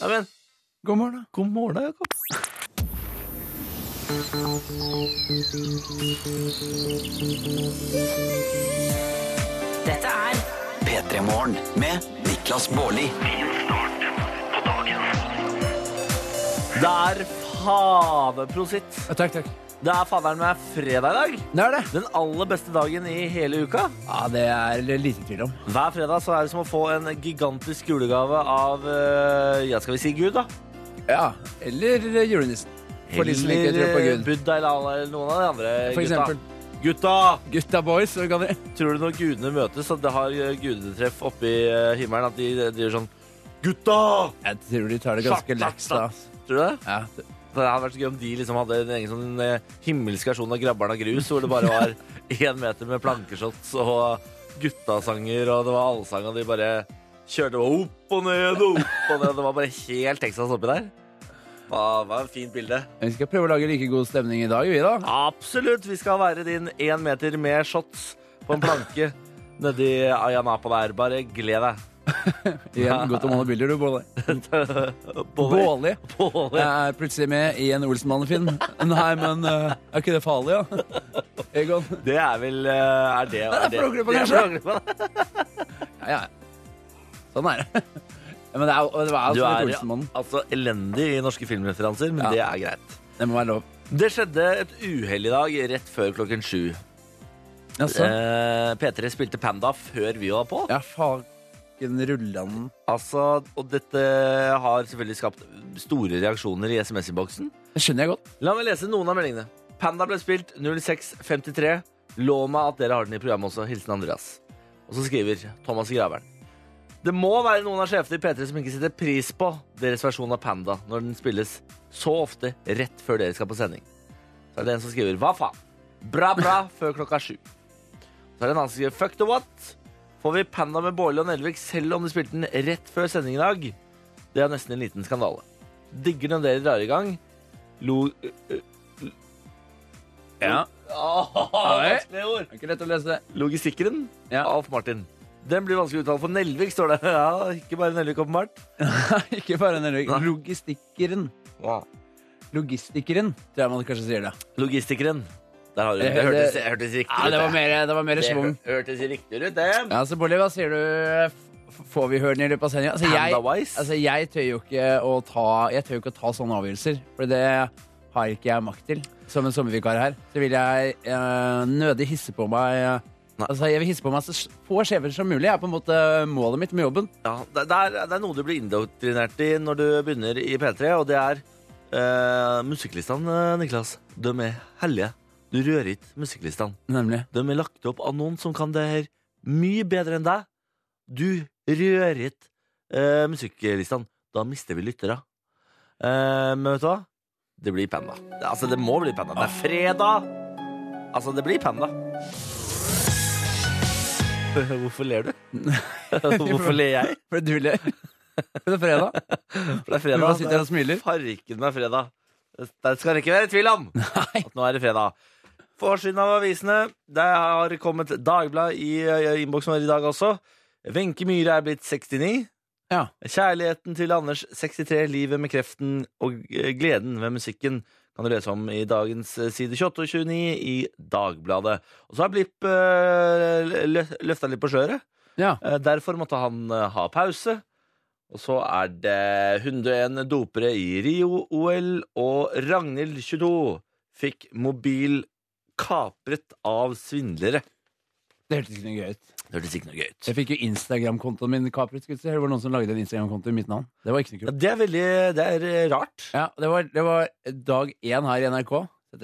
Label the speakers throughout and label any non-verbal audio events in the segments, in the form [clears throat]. Speaker 1: Ja, men, god morgen, da. God morgen, da, Jakob.
Speaker 2: Dette er
Speaker 3: P3 Morgen med Niklas Baarli.
Speaker 1: Det er fadeprositt.
Speaker 4: Takk, takk.
Speaker 1: Det er faderen meg fredag i dag.
Speaker 4: Det er det.
Speaker 1: Den aller beste dagen i hele uka.
Speaker 4: Ja, Det er det lite tvil om.
Speaker 1: Hver fredag så er det som å få en gigantisk julegave av eh, Ja, skal vi si Gud, da?
Speaker 4: Ja, Eller julenissen. For de som ikke tror på
Speaker 1: Eller
Speaker 4: Gud.
Speaker 1: Buddha eller Allah eller noen av de andre
Speaker 4: For eksempel.
Speaker 1: Gutta!
Speaker 4: Gutta boys. Hva kan det?
Speaker 1: Tror du når gudene møtes, at det har eh, gudetreff oppe i eh, himmelen, at de eh, driver sånn Gutta!
Speaker 4: Jeg tror de tar det ganske lett. da.
Speaker 1: Tror du det?
Speaker 4: Ja,
Speaker 1: For Det hadde vært så gøy om de liksom hadde en egen sånn eh, himmelsk versjon av Grabbarn av grus, hvor det bare [laughs] var én meter med plankeshots og guttasanger, og det var allsang, og de bare kjørte opp og ned og opp og ned. Det var bare helt Texas oppi der. Hva, hva et fint bilde.
Speaker 4: Vi skal prøve å lage like god stemning i dag, vi, da.
Speaker 1: Absolutt. Vi skal være din én meter med shots på en planke nedi Ayanapa der. Bare gled deg.
Speaker 4: Igjen, godt å måle bilder, du, Båle.
Speaker 1: [laughs] Bål.
Speaker 4: Båle.
Speaker 1: Bål.
Speaker 4: Jeg er plutselig med i en Olsenmann-film. Nei, men eh, er ikke det farlig, da? Egon?
Speaker 1: Det er vel eh, Er det
Speaker 4: er flåklippa,
Speaker 1: det er
Speaker 4: kanskje?
Speaker 1: flåklippa.
Speaker 4: Ja, ja. Sånn er det. Ja, men det er, det er
Speaker 1: Du
Speaker 4: altså
Speaker 1: er
Speaker 4: litt Olsenmannen.
Speaker 1: altså elendig i norske filmreferanser, men
Speaker 4: Ja.
Speaker 1: det er greit.
Speaker 4: Det må være lov.
Speaker 1: Det skjedde et uhell i dag rett før klokken sju.
Speaker 4: Jaså?
Speaker 1: Eh, P3 spilte Panda før vi var på.
Speaker 4: Ja, faken rullanden.
Speaker 1: Altså, og dette har selvfølgelig skapt store reaksjoner i SMS-innboksen.
Speaker 4: Det skjønner jeg godt.
Speaker 1: La meg lese noen av meldingene. Panda ble spilt 0653. Lov meg at dere har den i programmet også. Hilsen Andreas. Og så skriver Thomas Gravern. Det må være noen av sjefene i P3 som ikke setter pris på deres versjon av Panda når den spilles så ofte rett før dere skal på sending. Så er det en som skriver 'Hva faen?' Bra, bra før klokka sju. Så er det en annen som skriver 'Fuck the what?' Får vi Panda med Bårli og Nelvik selv om de spilte den rett før sending i dag? Det er nesten en liten skandale. Digger når dere drar i gang. Lo,
Speaker 4: Ja.
Speaker 1: Vanskelige ord.
Speaker 4: Det er ikke lett å lese.
Speaker 1: Logistikkeren
Speaker 4: Ja.
Speaker 1: Alf Martin. Den blir vanskelig å uttale for Nelvik, står det. [laughs] Ja, ikke bare Nelvik, åpenbart.
Speaker 4: ikke bare en Henrik.
Speaker 1: Nei.
Speaker 4: Logistikeren. Logistikeren, tror jeg man kanskje sier det.
Speaker 1: Logistikeren. Der har du det.
Speaker 4: Det-
Speaker 1: Det hørtes,
Speaker 4: det-
Speaker 1: det hørtes riktig
Speaker 4: Ja,
Speaker 1: ut.
Speaker 4: det var mer, det var mer
Speaker 1: det
Speaker 4: svung.
Speaker 1: hør- hørtes riktig ut, det.
Speaker 4: Ja, så Bolli, hva sier du? F- Får vi høre den i løpet av sendinga? Altså, jeg,
Speaker 1: Panda-wise?
Speaker 4: altså, jeg tør jo ikke å ta Jeg tør jo ikke å ta sånne avgjørelser, for det har ikke jeg makt til. Som en sommervikar her. Så vil jeg eh, nødig hisse på meg eh,
Speaker 1: Nei.
Speaker 4: Altså, Jeg vil hisse på meg så s- få skjever som mulig. er på en måte målet mitt med jobben.
Speaker 1: Ja, det, det, er, det er noe du blir indoktrinert i når du begynner i P3, og det er eh, musikklistene, eh, Niklas. De er hellige. Du rører ikke musikklistene.
Speaker 4: Nemlig.
Speaker 1: De er lagt opp av noen som kan det her mye bedre enn deg. Du rører ikke eh, musikklistene. Da mister vi lyttere. Eh, men vet du hva? Det blir Panda. Det, altså, det må bli Panda. Det er fredag! Altså, det blir Panda. [laughs] Hvorfor [laughs] ler du? Hvorfor ler jeg?
Speaker 4: For du ler. [laughs] For det er [laughs] fredag.
Speaker 1: For det er
Speaker 4: Du
Speaker 1: fredag.
Speaker 4: bare sitter her og
Speaker 1: Det
Speaker 4: smiler.
Speaker 1: er Farken meg fredag. Det skal det ikke være tvil om!
Speaker 4: Nei.
Speaker 1: at nå er det fredag. Forsiden av avisene. Det har kommet Dagbladet i eh, innboksen vår i dag også. Wenche Myhre er blitt 69.
Speaker 4: Ja.
Speaker 1: Kjærligheten til Anders 63, livet med kreften og eh, gleden ved musikken kan du lese om i dagens eh, side 28 og 29 i Dagbladet. Og så har Blipp uh, løfta litt på skjøret.
Speaker 4: Ja.
Speaker 1: Eh, Derfor måtte han eh, ha pause. Og så er det 101 dopere i Rio-OL, og Ragnhild 22 fikk mobil kapret av svindlere.
Speaker 4: Det hørtes ikke noe gøy ut.
Speaker 1: Det hørtes ikke noe gøy ut.
Speaker 4: Jeg fikk jo Instagram-kontoen min kapret. skulle jeg si. Det var noen som lagde en Instagram-konto i mitt navn. Det var ikke noe kult.
Speaker 1: Ja, det er veldig Det er eh, rart.
Speaker 4: Ja, det var, det var dag én her i NRK.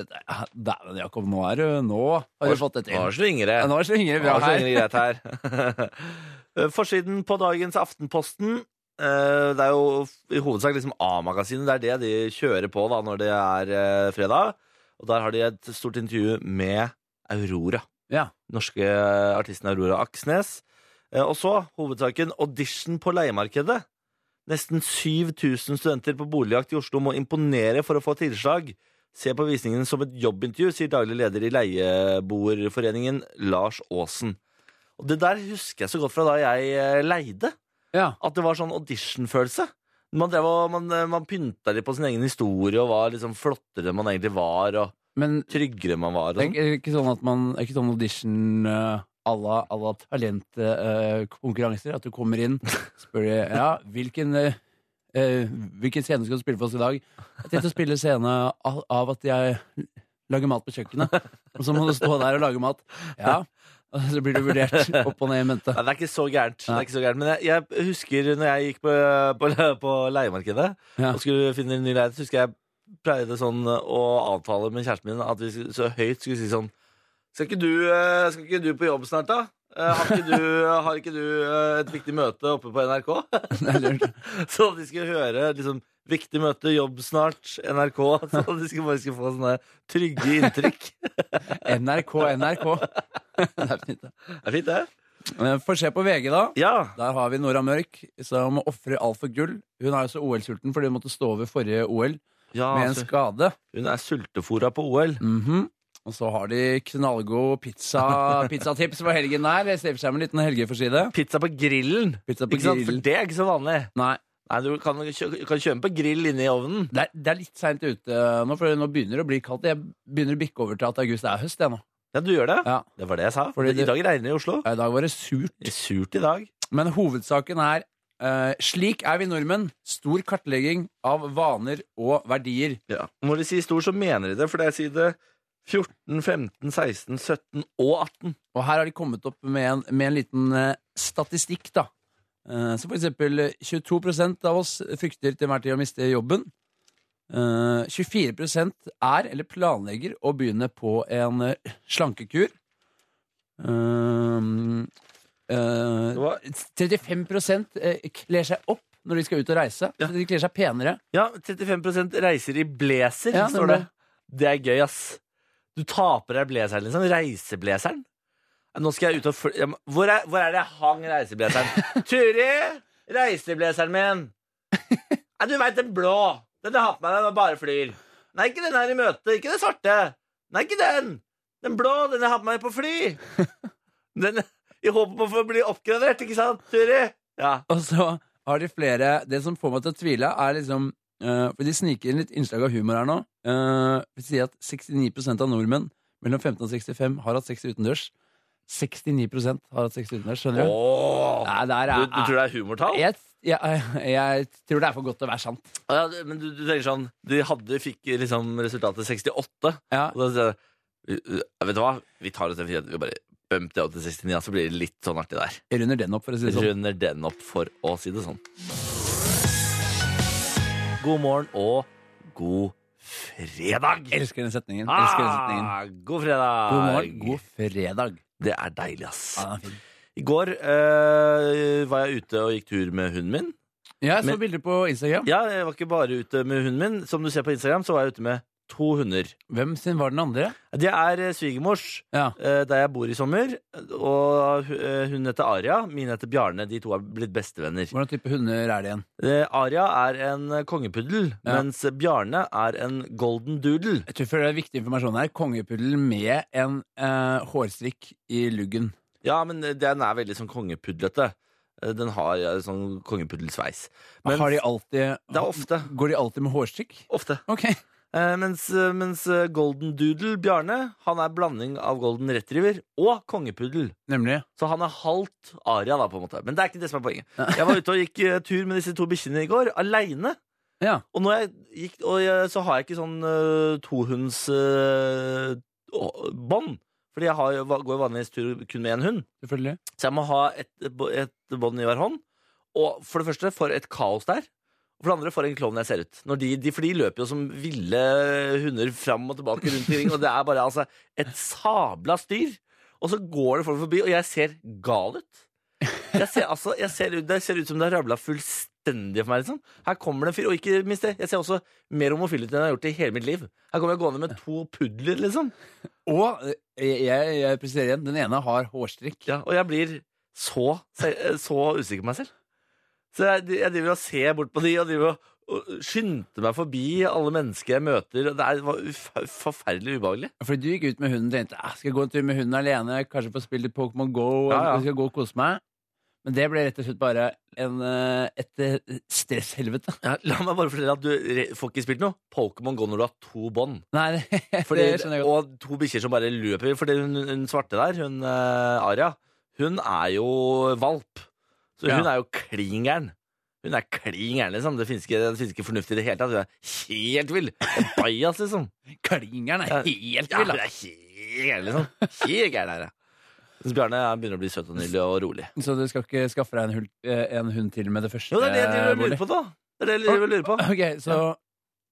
Speaker 4: Dette- ja, Dæven, Jakob, nå er du Nå har du fått det til.
Speaker 1: Nå slynger det.
Speaker 4: Ja, Nå slynger det
Speaker 1: Det
Speaker 4: bra
Speaker 1: var så
Speaker 4: her.
Speaker 1: ingen greit her. [laughs] Eh, Forsiden på dagens Aftenposten. eh, Det er jo i hovedsak liksom A-magasinet. Det er det de kjører på da når det er eh, fredag. Og der har de et stort intervju med Aurora.
Speaker 4: Ja.
Speaker 1: Norske eh, artisten Aurora Aksnes. Eh, Og så hovedsaken audition på leiemarkedet. Nesten 7000 studenter på boligjakt i Oslo må imponere for å få tilslag. Se på visningen som et jobbintervju, sier daglig leder i Leieboerforeningen, Lars Aasen. Og det der husker jeg så godt fra da jeg eh, leide.
Speaker 4: Ja.
Speaker 1: At det var sånn audition-følelse. Man, drev og- man, eh, man pynta litt på sin egen historie og var liksom flottere enn man egentlig var, og
Speaker 4: Men
Speaker 1: tryggere enn man var. Og
Speaker 4: det
Speaker 1: sånn.
Speaker 4: er ikke sånn at man det er ikke sånn audition eh, à la, à la talentkonkurranser. at du kommer [laughs] inn spør de, ja, hvilken, eh, eh, hvilken scene skal du spille for oss i dag. Jeg tenkte å spille scene av, av at jeg lager mat på kjøkkenet. Og så må du stå der og lage mat. Ja. Og så blir du vurdert opp og ned i mente.
Speaker 1: Nei, det er ikke så gærent. Det
Speaker 4: Nei.
Speaker 1: er ikke så gærent. Men jeg, jeg husker når jeg gikk på, på, på leiemarkedet
Speaker 4: Ja.
Speaker 1: og skulle finne en ny leilighet, så husker jeg pleide sånn å avtale med kjæresten min at vi skulle- så høyt skulle si sånn Skal ikke du, eh, skal ikke du på jobb snart, da? Eh, Har ikke du, har ikke du eh, et viktig møte oppe på NRK? [laughs]
Speaker 4: Det er lurt.
Speaker 1: Så de skulle høre liksom Viktig møte, jobb snart, NRK. [laughs] Så de skulle bare skulle få sånne trygge inntrykk.
Speaker 4: NRK, NRK. Det er fint, det.
Speaker 1: Det [laughs] er fint, det.
Speaker 4: Eh, Få se på VG, da.
Speaker 1: Ja.
Speaker 4: Der har vi Nora Mørk, som ofrer alt for gull. Hun er jo så OL-sulten fordi hun måtte stå over forrige OL
Speaker 1: ja
Speaker 4: med en
Speaker 1: altså,
Speaker 4: skade.
Speaker 1: hun er sultefora på OL.
Speaker 4: Mhm. Og så har de knallgod [laughs] pizza, pizzatips for helgen der. Jeg ser for seg med en liten helgeforside.
Speaker 1: Pizza på grillen.
Speaker 4: Pizza på
Speaker 1: Ikke sant? For
Speaker 4: grill.
Speaker 1: det er ikke så vanlig.
Speaker 4: Nei,
Speaker 1: Nei, Du kan, kjø kan kjøpe på grill inne i ovnen.
Speaker 4: det er, det er litt seint ute nå, for nå begynner det å bli kaldt. Jeg begynner å bikke over til at august er høst, jeg nå.
Speaker 1: Ja, du gjør det.
Speaker 4: Ja.
Speaker 1: Det var det jeg sa.
Speaker 4: Fordi
Speaker 1: I
Speaker 4: det-
Speaker 1: dag regner det i Oslo.
Speaker 4: I dag var det surt.
Speaker 1: Det er surt i dag.
Speaker 4: Men hovedsaken er eh, Slik er vi nordmenn. Stor kartlegging av vaner og verdier.
Speaker 1: Når de sier stor, så mener de det. For det er side 14, 15, 16, 17 og 18.
Speaker 4: Og her har de kommet opp med en, med en liten eh, statistikk, da. Eh, så for eksempel eh, 22 av oss frykter til enhver tid å miste jobben. Eh, 24 er eller planlegger å begynne på en eh, slankekur. Eh, eh,
Speaker 1: Det var,
Speaker 4: 35 eh, kler seg opp når de skal ut og reise.
Speaker 1: Ja.
Speaker 4: Så De kler seg penere.
Speaker 1: ja, 35 reiser i blazer,
Speaker 4: Ja,
Speaker 1: står det. Det er gøy, ass. Du taper deg blazeren, liksom. Reiseblazeren. Nei, Nå skal jeg ut og fly... Ja, men Hvor er, hvor er det jeg hang
Speaker 4: [laughs]
Speaker 1: reiseblazeren? Turi! Reiseblazeren min! Nei, du veit den blå. Den jeg har på meg når jeg bare flyr. Nei, ikke den her i møte. Ikke den svarte. Nei, ikke den. Den blå. Den jeg har på meg på fly. Den i håp om å få bli oppgradert, ikke sant, Turi? Ja.
Speaker 4: Og så har de flere Det som får meg til å tvile, er liksom eh, For de sniker inn litt innslag av humor her nå. Eh, de sier at 69 av nordmenn mellom 15 og 65 har hatt sex utendørs. 69 har hatt sex utendørs, skjønner du?
Speaker 1: Åh.
Speaker 4: Nei, der
Speaker 1: Du,
Speaker 4: er,
Speaker 1: du tror det er humortall?
Speaker 4: jeg, jeg, [laughs] jeg tror det er for godt til å være sant.
Speaker 1: Å Ja, du- men du, du tenker sånn De hadde, fikk liksom resultatet 68
Speaker 4: Ja.
Speaker 1: Og da sier jeg «Uh, uh, Vet du hva? Vi tar oss en frihet Vi bare bømte det opp til 69 ja, Så blir det litt sånn artig der
Speaker 4: Jeg runder den opp, for å si det sånn.
Speaker 1: Runder den opp for å si det sånn God morgen og god fredag
Speaker 4: Elsker den setningen. Elsker den setningen.
Speaker 1: ah, God fredag
Speaker 4: God morgen, god Ah. fredag.
Speaker 1: Det er deilig ass
Speaker 4: Ja, den er fin.
Speaker 1: I går eh, var jeg ute og gikk tur med hunden min
Speaker 4: Ja, jeg så
Speaker 1: Men-
Speaker 4: bilder på Instagram.
Speaker 1: Ja, jeg var ikke bare ute med hunden min Som du ser på Instagram så var jeg ute med to hunder
Speaker 4: Hvem sin var den andre?
Speaker 1: Det er eh, svigermors,
Speaker 4: Ja.
Speaker 1: eh, der jeg bor i sommer. Og hu- eh, hun heter Aria, min heter Bjarne. De to er blitt bestevenner.
Speaker 4: Hvordan type hunder er det igjen?
Speaker 1: Eh, Aria er en eh, kongepuddel,
Speaker 4: Ja.
Speaker 1: mens Bjarne er en golden doodle.
Speaker 4: Jeg tror for det er viktig informasjon her. Kongepuddel med en eh, hårstrikk i luggen.
Speaker 1: Ja, men eh, den er veldig sånn kongepudlete. Eh, Den har eh, sånn kongepuddelsveis. Men
Speaker 4: har de alltid,
Speaker 1: det er ofte.
Speaker 4: Går de alltid med hårstrikk?
Speaker 1: Ofte.
Speaker 4: Ok.
Speaker 1: Eh, mens, eh, mens eh, golden doodle Bjarne, han er blanding av golden retriever og kongepuddel.
Speaker 4: Nemlig.
Speaker 1: Så han er halvt aria, da, på en måte. Men det er ikke det som er poenget. Jeg var ute og gikk eh, tur med disse to bikkjene i går, aleine.
Speaker 4: Ja.
Speaker 1: Og, når jeg gikk, og jeg, så har jeg ikke sånn uh, tohundsbånd. fordi jeg har, va- går vanligvis tur kun med én hund.
Speaker 4: Selvfølgelig.
Speaker 1: Så jeg må ha et, bo- et bånd i hver hånd. Og for det første, for et kaos der. Og for det andre, for en klovn jeg ser ut. Når de, de, for de løper jo som ville hunder fram og tilbake rundt i ring, og det er bare altså, et sabla styr. Og så går det folk forbi, og jeg ser gal ut. Jeg ser, altså, jeg ser, ut- det ser ut som det har rabla fullstendig for meg. Liksom. Her kommer det en fyr, og ikke minst det, jeg ser også mer homofil ut enn jeg har gjort i hele mitt liv. Her kommer jeg gående med to pudler, liksom.
Speaker 4: Og eh, jeg, jeg presiserer igjen, den ene har hårstrikk.
Speaker 1: Ja, og jeg blir så, så usikker på meg selv. Så jeg, jeg driver og ser bort på de, og driver og, og skyndte meg forbi alle mennesker jeg møter. Og det er- var uf, forferdelig ubehagelig.
Speaker 4: Fordi du gikk ut med hunden og tenkte ah, skal jeg gå en tur med hunden alene, kanskje få spille litt Pokémon Go,
Speaker 1: Ja, ja.
Speaker 4: eller skal jeg gå og kose meg. Men det ble rett og slett bare en, eh, et eh, stresshelvete.
Speaker 1: Ja, la meg bare fortelle at du re- får ikke spilt noe. Pokémon går når du har to bånd.
Speaker 4: Nei, det,
Speaker 1: Fordi,
Speaker 4: [laughs] det skjønner jeg godt.
Speaker 1: og to bikkjer som bare løper. Fordi hun, hun svarte der, hun eh, Aria, hun er jo valp. Så
Speaker 4: Ja.
Speaker 1: hun er jo klin gæren. Hun er klin gæren, liksom. Det finnes ikke, det finnes ikke fornuft i det hele tatt. Hun er helt vill. En bajas, liksom.
Speaker 4: Klingeren er helt vill,
Speaker 1: Ja, hun
Speaker 4: da.
Speaker 1: er helt gæren, liksom. Helt gæren er hun. Mens Bjarne han begynner å bli søt og nydelig og rolig.
Speaker 4: Så du skal ikke skaffe deg en, hul, eh, en hund til med det første?
Speaker 1: Jo, det er det jeg driver og
Speaker 4: Bårdli?
Speaker 1: lurer på, da. Det er det jeg driver og lurer på.
Speaker 4: [laughs] Ok, så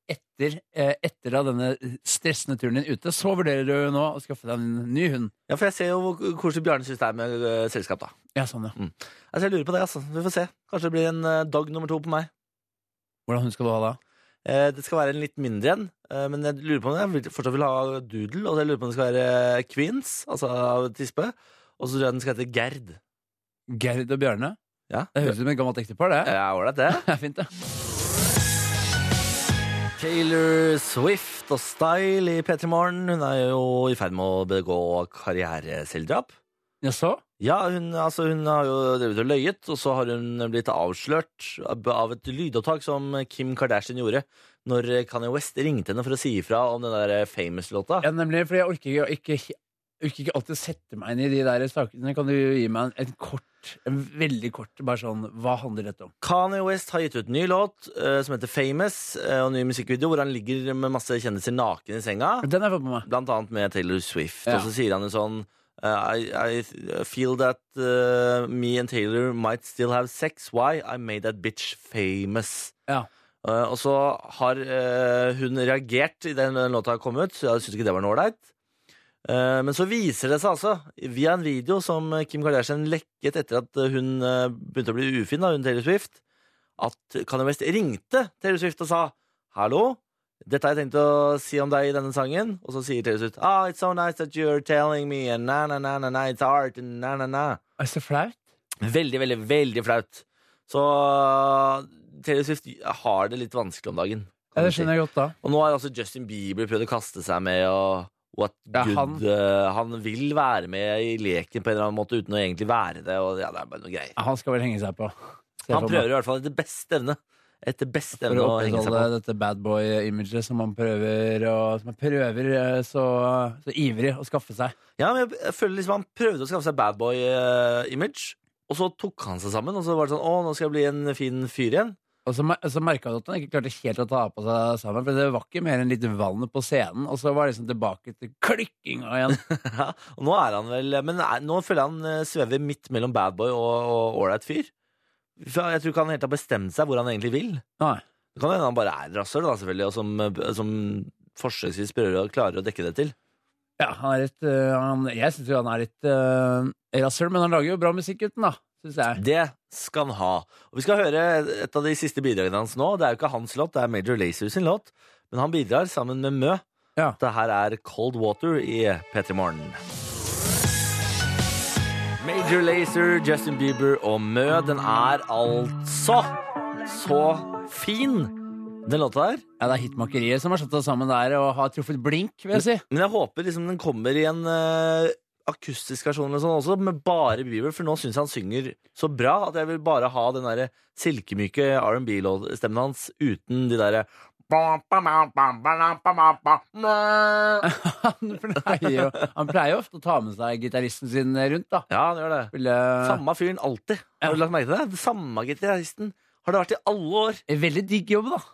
Speaker 4: etter, eh, etter da denne stressende turen din ute, så vurderer du nå å skaffe deg en ny hund.
Speaker 1: Ja, for jeg ser jo hvor koselig Bjarne syns det er med eh, selskap, da.
Speaker 4: Ja, sånn, ja.
Speaker 1: Altså, jeg lurer på det, altså. Vi får se. Kanskje det blir en eh, dag nummer to på meg.
Speaker 4: Hvordan hund skal du ha da?
Speaker 1: Eh, det skal være en litt mindre en, eh, men jeg lurer på om jeg vil- fortsatt vil ha doodle. Og jeg lurer på om det skal være queens, altså av tispe. Og så tror jeg den skal hete Gerd.
Speaker 4: Gerd og Bjarne?
Speaker 1: Ja,
Speaker 4: Det høres ut som et gammelt ektepar, det. [laughs]
Speaker 1: Ja, ålreit, det.
Speaker 4: Det er fint, det.
Speaker 1: Taylor Swift og Style i P3 Morgen. Hun er jo i ferd med å begå karriereselvdrap.
Speaker 4: Ja, så?
Speaker 1: Ja, hun, altså, hun har jo drevet og løyet, og så har hun blitt avslørt av av et lydopptak som Kim Kardashian gjorde når Kanye West ringte henne for å si ifra om den der Famous-låta.
Speaker 4: Ja, nemlig, fordi jeg orker ikke, ikke, jeg orker ikke alltid sette meg inn i de der sakene. Kan du gi meg en, en kort, en veldig kort, bare sånn, hva handler dette om?
Speaker 1: Kanye West har gitt ut en ny låt eh, som heter Famous, eh, og en ny musikkvideo hvor han ligger med masse kjendiser naken i senga,
Speaker 4: Den har jeg fått med meg.
Speaker 1: blant annet med Taylor Swift.
Speaker 4: Ja.
Speaker 1: Og så sier han jo sånn eh, I, I feel that eh, me and Taylor might still have sex. Why? I made that bitch famous.
Speaker 4: Ja.
Speaker 1: Eh, og så har eh, hun reagert i den, den låta kom ut, så jeg syntes ikke det var noe ålreit. Eh, men så viser det seg altså, via en video som Kim Kardashian lekket etter at hun eh, begynte å bli ufin, da, hun Taylor Swift, at Kanye West ringte Taylor Swift og sa 'hallo'. Dette har jeg tenkt å si om deg i denne sangen. Og så sier Taylor Swift Ah, it's so nice that you're telling me And na na na na na, it's art And na na na
Speaker 4: Er det så flaut?
Speaker 1: Veldig, veldig, veldig flaut. Så Taylor Swift har det litt vanskelig om dagen.
Speaker 4: Ja,
Speaker 1: kan
Speaker 4: det
Speaker 1: du si.
Speaker 4: skjønner jeg godt da.
Speaker 1: Og nå har altså Justin Bieber prøvd å kaste seg med og what
Speaker 4: Ja,
Speaker 1: good
Speaker 4: han-
Speaker 1: han... han vil være med i leken på en eller annen måte uten å egentlig være det. Og ja, det er bare noe greier.
Speaker 4: Ja, Han skal vel henge seg på. Ser
Speaker 1: Han
Speaker 4: for meg.
Speaker 1: prøver i hvert fall etter beste evne. Etter beste
Speaker 4: For
Speaker 1: evne
Speaker 4: å
Speaker 1: å henge seg
Speaker 4: opprettholde
Speaker 1: på.
Speaker 4: dette bad boy-imaget som han prøver, og, som han prøver eh, så, så ivrig å skaffe seg.
Speaker 1: Ja, men jeg, jeg føler liksom han prøvde å skaffe seg bad boy-image, og så tok han seg sammen. Og så var det sånn Å, nå skal jeg bli en fin fyr igjen.
Speaker 4: Og så, mer- så merka du at han ikke klarte helt å ta på seg sammen, for det var ikke mer enn litt vann på scenen, og så var det liksom tilbake til klikkinga igjen.
Speaker 1: [laughs] Ja, og nå er han vel Men er, nå føler jeg han eh, svever midt mellom badboy og og ålreit fyr. For jeg tror ikke han helt har bestemt seg hvor han egentlig vil.
Speaker 4: Nei.
Speaker 1: Det kan hende han bare er rasshøl, da, selvfølgelig, og som, eh, som forsøksvis prøver å klarer å dekke det til.
Speaker 4: Ja, han er litt øh, han, Jeg syns jo han er litt øh, rasshøl, men han lager jo bra musikk, gutten, da. Syns jeg.
Speaker 1: Det skal han ha. Og vi skal høre et av de siste bidragene hans nå. Det er jo ikke hans låt, det er Major Lazer sin låt. Men han bidrar sammen med Mø.
Speaker 4: Ja.
Speaker 1: Det her er Cold Water i P3 Morgen. Major Lazer, Justin Bieber og Mø. Den er altså så fin, den låta der.
Speaker 4: Ja, det er hitmakeriet som har slått oss sammen der og har truffet blink, vil jeg si. [laughs]
Speaker 1: Men jeg håper liksom den kommer i en eh, akustisk versjon eller sånn også, med bare Bieber, for nå syns jeg han synger så bra at jeg vil bare ha den derre silkemyke R&B-stemmen hans uten de derre Ja,
Speaker 4: Han pleier, jo, han pleier jo ofte å ta med seg gitaristen sin rundt, da.
Speaker 1: han gjør det.
Speaker 4: Ville-
Speaker 1: Samme fyren alltid. Har du lagt merke til det? Samme gitaristen har det vært i alle år.
Speaker 4: Veldig digg jobb, da.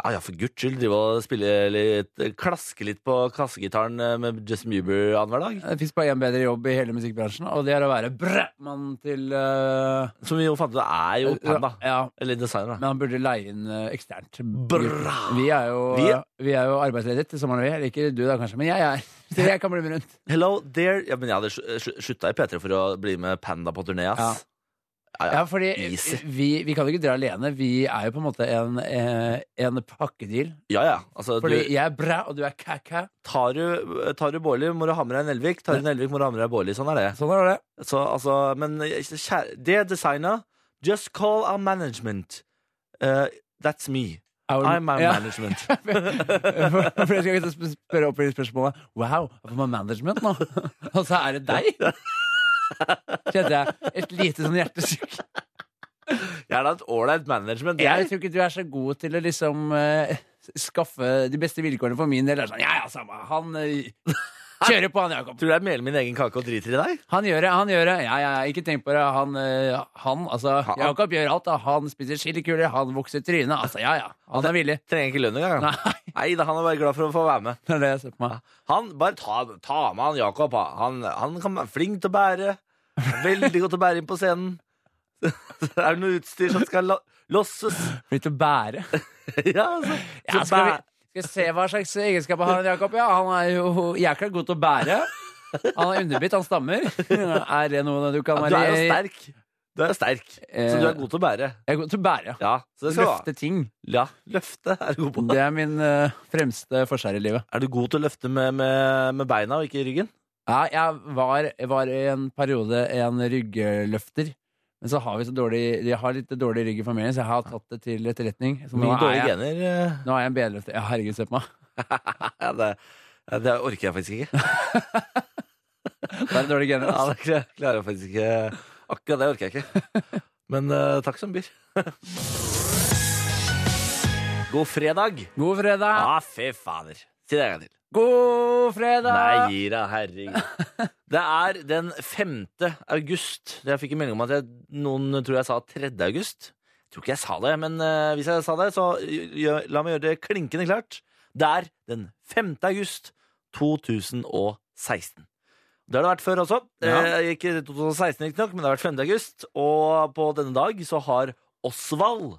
Speaker 1: Ja, ja, for guds skyld. Drive og spille litt, klaske litt på kassegitaren eh, med Justin Bieber annenhver dag.
Speaker 4: Det fins bare én bedre jobb i hele musikkbransjen, og det er å være bræmann til øh,
Speaker 1: Som vi jo fant ut er jo Panda.
Speaker 4: Ja,
Speaker 1: Eller designer, da.
Speaker 4: men han burde leie inn øh, eksternt.
Speaker 1: Bra!
Speaker 4: Vi er jo,
Speaker 1: Vi er-
Speaker 4: vi er jo arbeidsledige til sommeren, vi. Eller ikke du da, kanskje, men jeg er. [laughs] Så jeg kan bli med rundt.
Speaker 1: Hello there Ja, men jeg hadde slu- slu- slutta i P3 for å bli med Panda på turné, ass. Ja, ja.
Speaker 4: Ja, fordi
Speaker 1: easy.
Speaker 4: vi, vi kan jo ikke dra alene. Vi er jo på en måte en, eh, en pakkedeal.
Speaker 1: ja, ja. Altså,
Speaker 4: Fordi
Speaker 1: du,
Speaker 4: jeg er bra, og du er kæ-kæ.
Speaker 1: tar, du, tar du Bårli, må du ha med deg en Elvik. Tar du en Elvik, må du ha med deg Bårli. Sånn er det.
Speaker 4: Sånn er det.
Speaker 1: Så, altså, men kjære, det designet Just call our management. Eh, that's me.
Speaker 4: Our-
Speaker 1: I'm my
Speaker 4: Ja. [laughs]
Speaker 1: management.
Speaker 4: For for jeg skal liksom ikke [laughs] sp- spørre opp i spørsmålet Wow, jeg får meg management nå. Og så er det deg? Kjente jeg et lite sånn hjertesukk.
Speaker 1: Jeg er da et ålreit management.
Speaker 4: Jeg
Speaker 1: Jeg.
Speaker 4: tror ikke du er så god til å liksom eh, skaffe de beste vilkårene for min del. Det er Sånn, ja, ja, samme. Han eh, kjører på, han Jakob.
Speaker 1: Tror du jeg meler min egen kake og driter i deg?
Speaker 4: Han gjør det, han gjør det. Ja, ja, ikke tenk på det. Han, eh, han altså
Speaker 1: Han-
Speaker 4: Jakob gjør alt, da. Han spiser chilikuler, han vokser trynet. Altså, ja, ja. Han er villig.
Speaker 1: Trenger ikke lønn engang. han.
Speaker 4: Nei, [laughs]
Speaker 1: Nei da, han er bare glad for å få være med.
Speaker 4: det er det jeg ser på meg.
Speaker 1: Han, Bare ta, ta med han Jakob. ha. Han, han kan være flink til å bære. Veldig godt til å bære inn på scenen. [laughs] Så er det noe utstyr som skal la- losses.
Speaker 4: Blitt å bære.
Speaker 1: [laughs] ja, altså.
Speaker 4: Ja,
Speaker 1: Så
Speaker 4: skal vi
Speaker 1: bæ-
Speaker 4: skal vi se hva slags egenskaper har han Jakob? Ja, han er jo jækla god til å bære. Han er underbitt, han stammer. Er det noe du kan
Speaker 1: Ja, du
Speaker 4: være
Speaker 1: er jo sterk. Du er jo sterk, så
Speaker 4: Eh,
Speaker 1: du er god til å bære.
Speaker 4: Jeg er god til å bære.
Speaker 1: Ja, så det skal du ha.
Speaker 4: Løfte ting.
Speaker 1: Ja, løfte er du god på.
Speaker 4: Det er min eh, fremste forskjell i livet.
Speaker 1: Er du god til å løfte med, med, med beina og ikke i ryggen?
Speaker 4: Ja, jeg var, jeg var i en periode en ryggeløfter. Men så har vi så dårlig Jeg har litt dårlig rygg i familien, så jeg har tatt det til etterretning. Så nå
Speaker 1: Mye
Speaker 4: er
Speaker 1: dårlige
Speaker 4: jeg,
Speaker 1: gener. eh,
Speaker 4: nå er jeg en bedreløfter. Ja, herregud, se på meg.
Speaker 1: [laughs] Ja, det, ja, det orker jeg [laughs] faktisk ikke.
Speaker 4: Det er dårlige gener.
Speaker 1: Ja,
Speaker 4: Altså.
Speaker 1: det kla- klarer jeg faktisk ikke. Akkurat det orker jeg ikke. [laughs] Men eh, takk som byr. [laughs] God fredag.
Speaker 4: God fredag!
Speaker 1: Ja, fy fader. Si det en gang til.
Speaker 4: God fredag!
Speaker 1: Nei, gi deg, herregud.
Speaker 4: [laughs]
Speaker 1: Det er den 5. august. Jeg fikk en melding om at jeg, noen tror jeg sa 3. august. Jeg tror ikke jeg sa det, men eh, hvis jeg sa det, så eh, gjør, la meg gjøre det klinkende klart. Det er den 5. august 2016. Det har det vært før også.
Speaker 4: Ja.
Speaker 1: Eh, ikke 2016 riktignok, men det har vært 5. august. Og på denne dag så har Osvald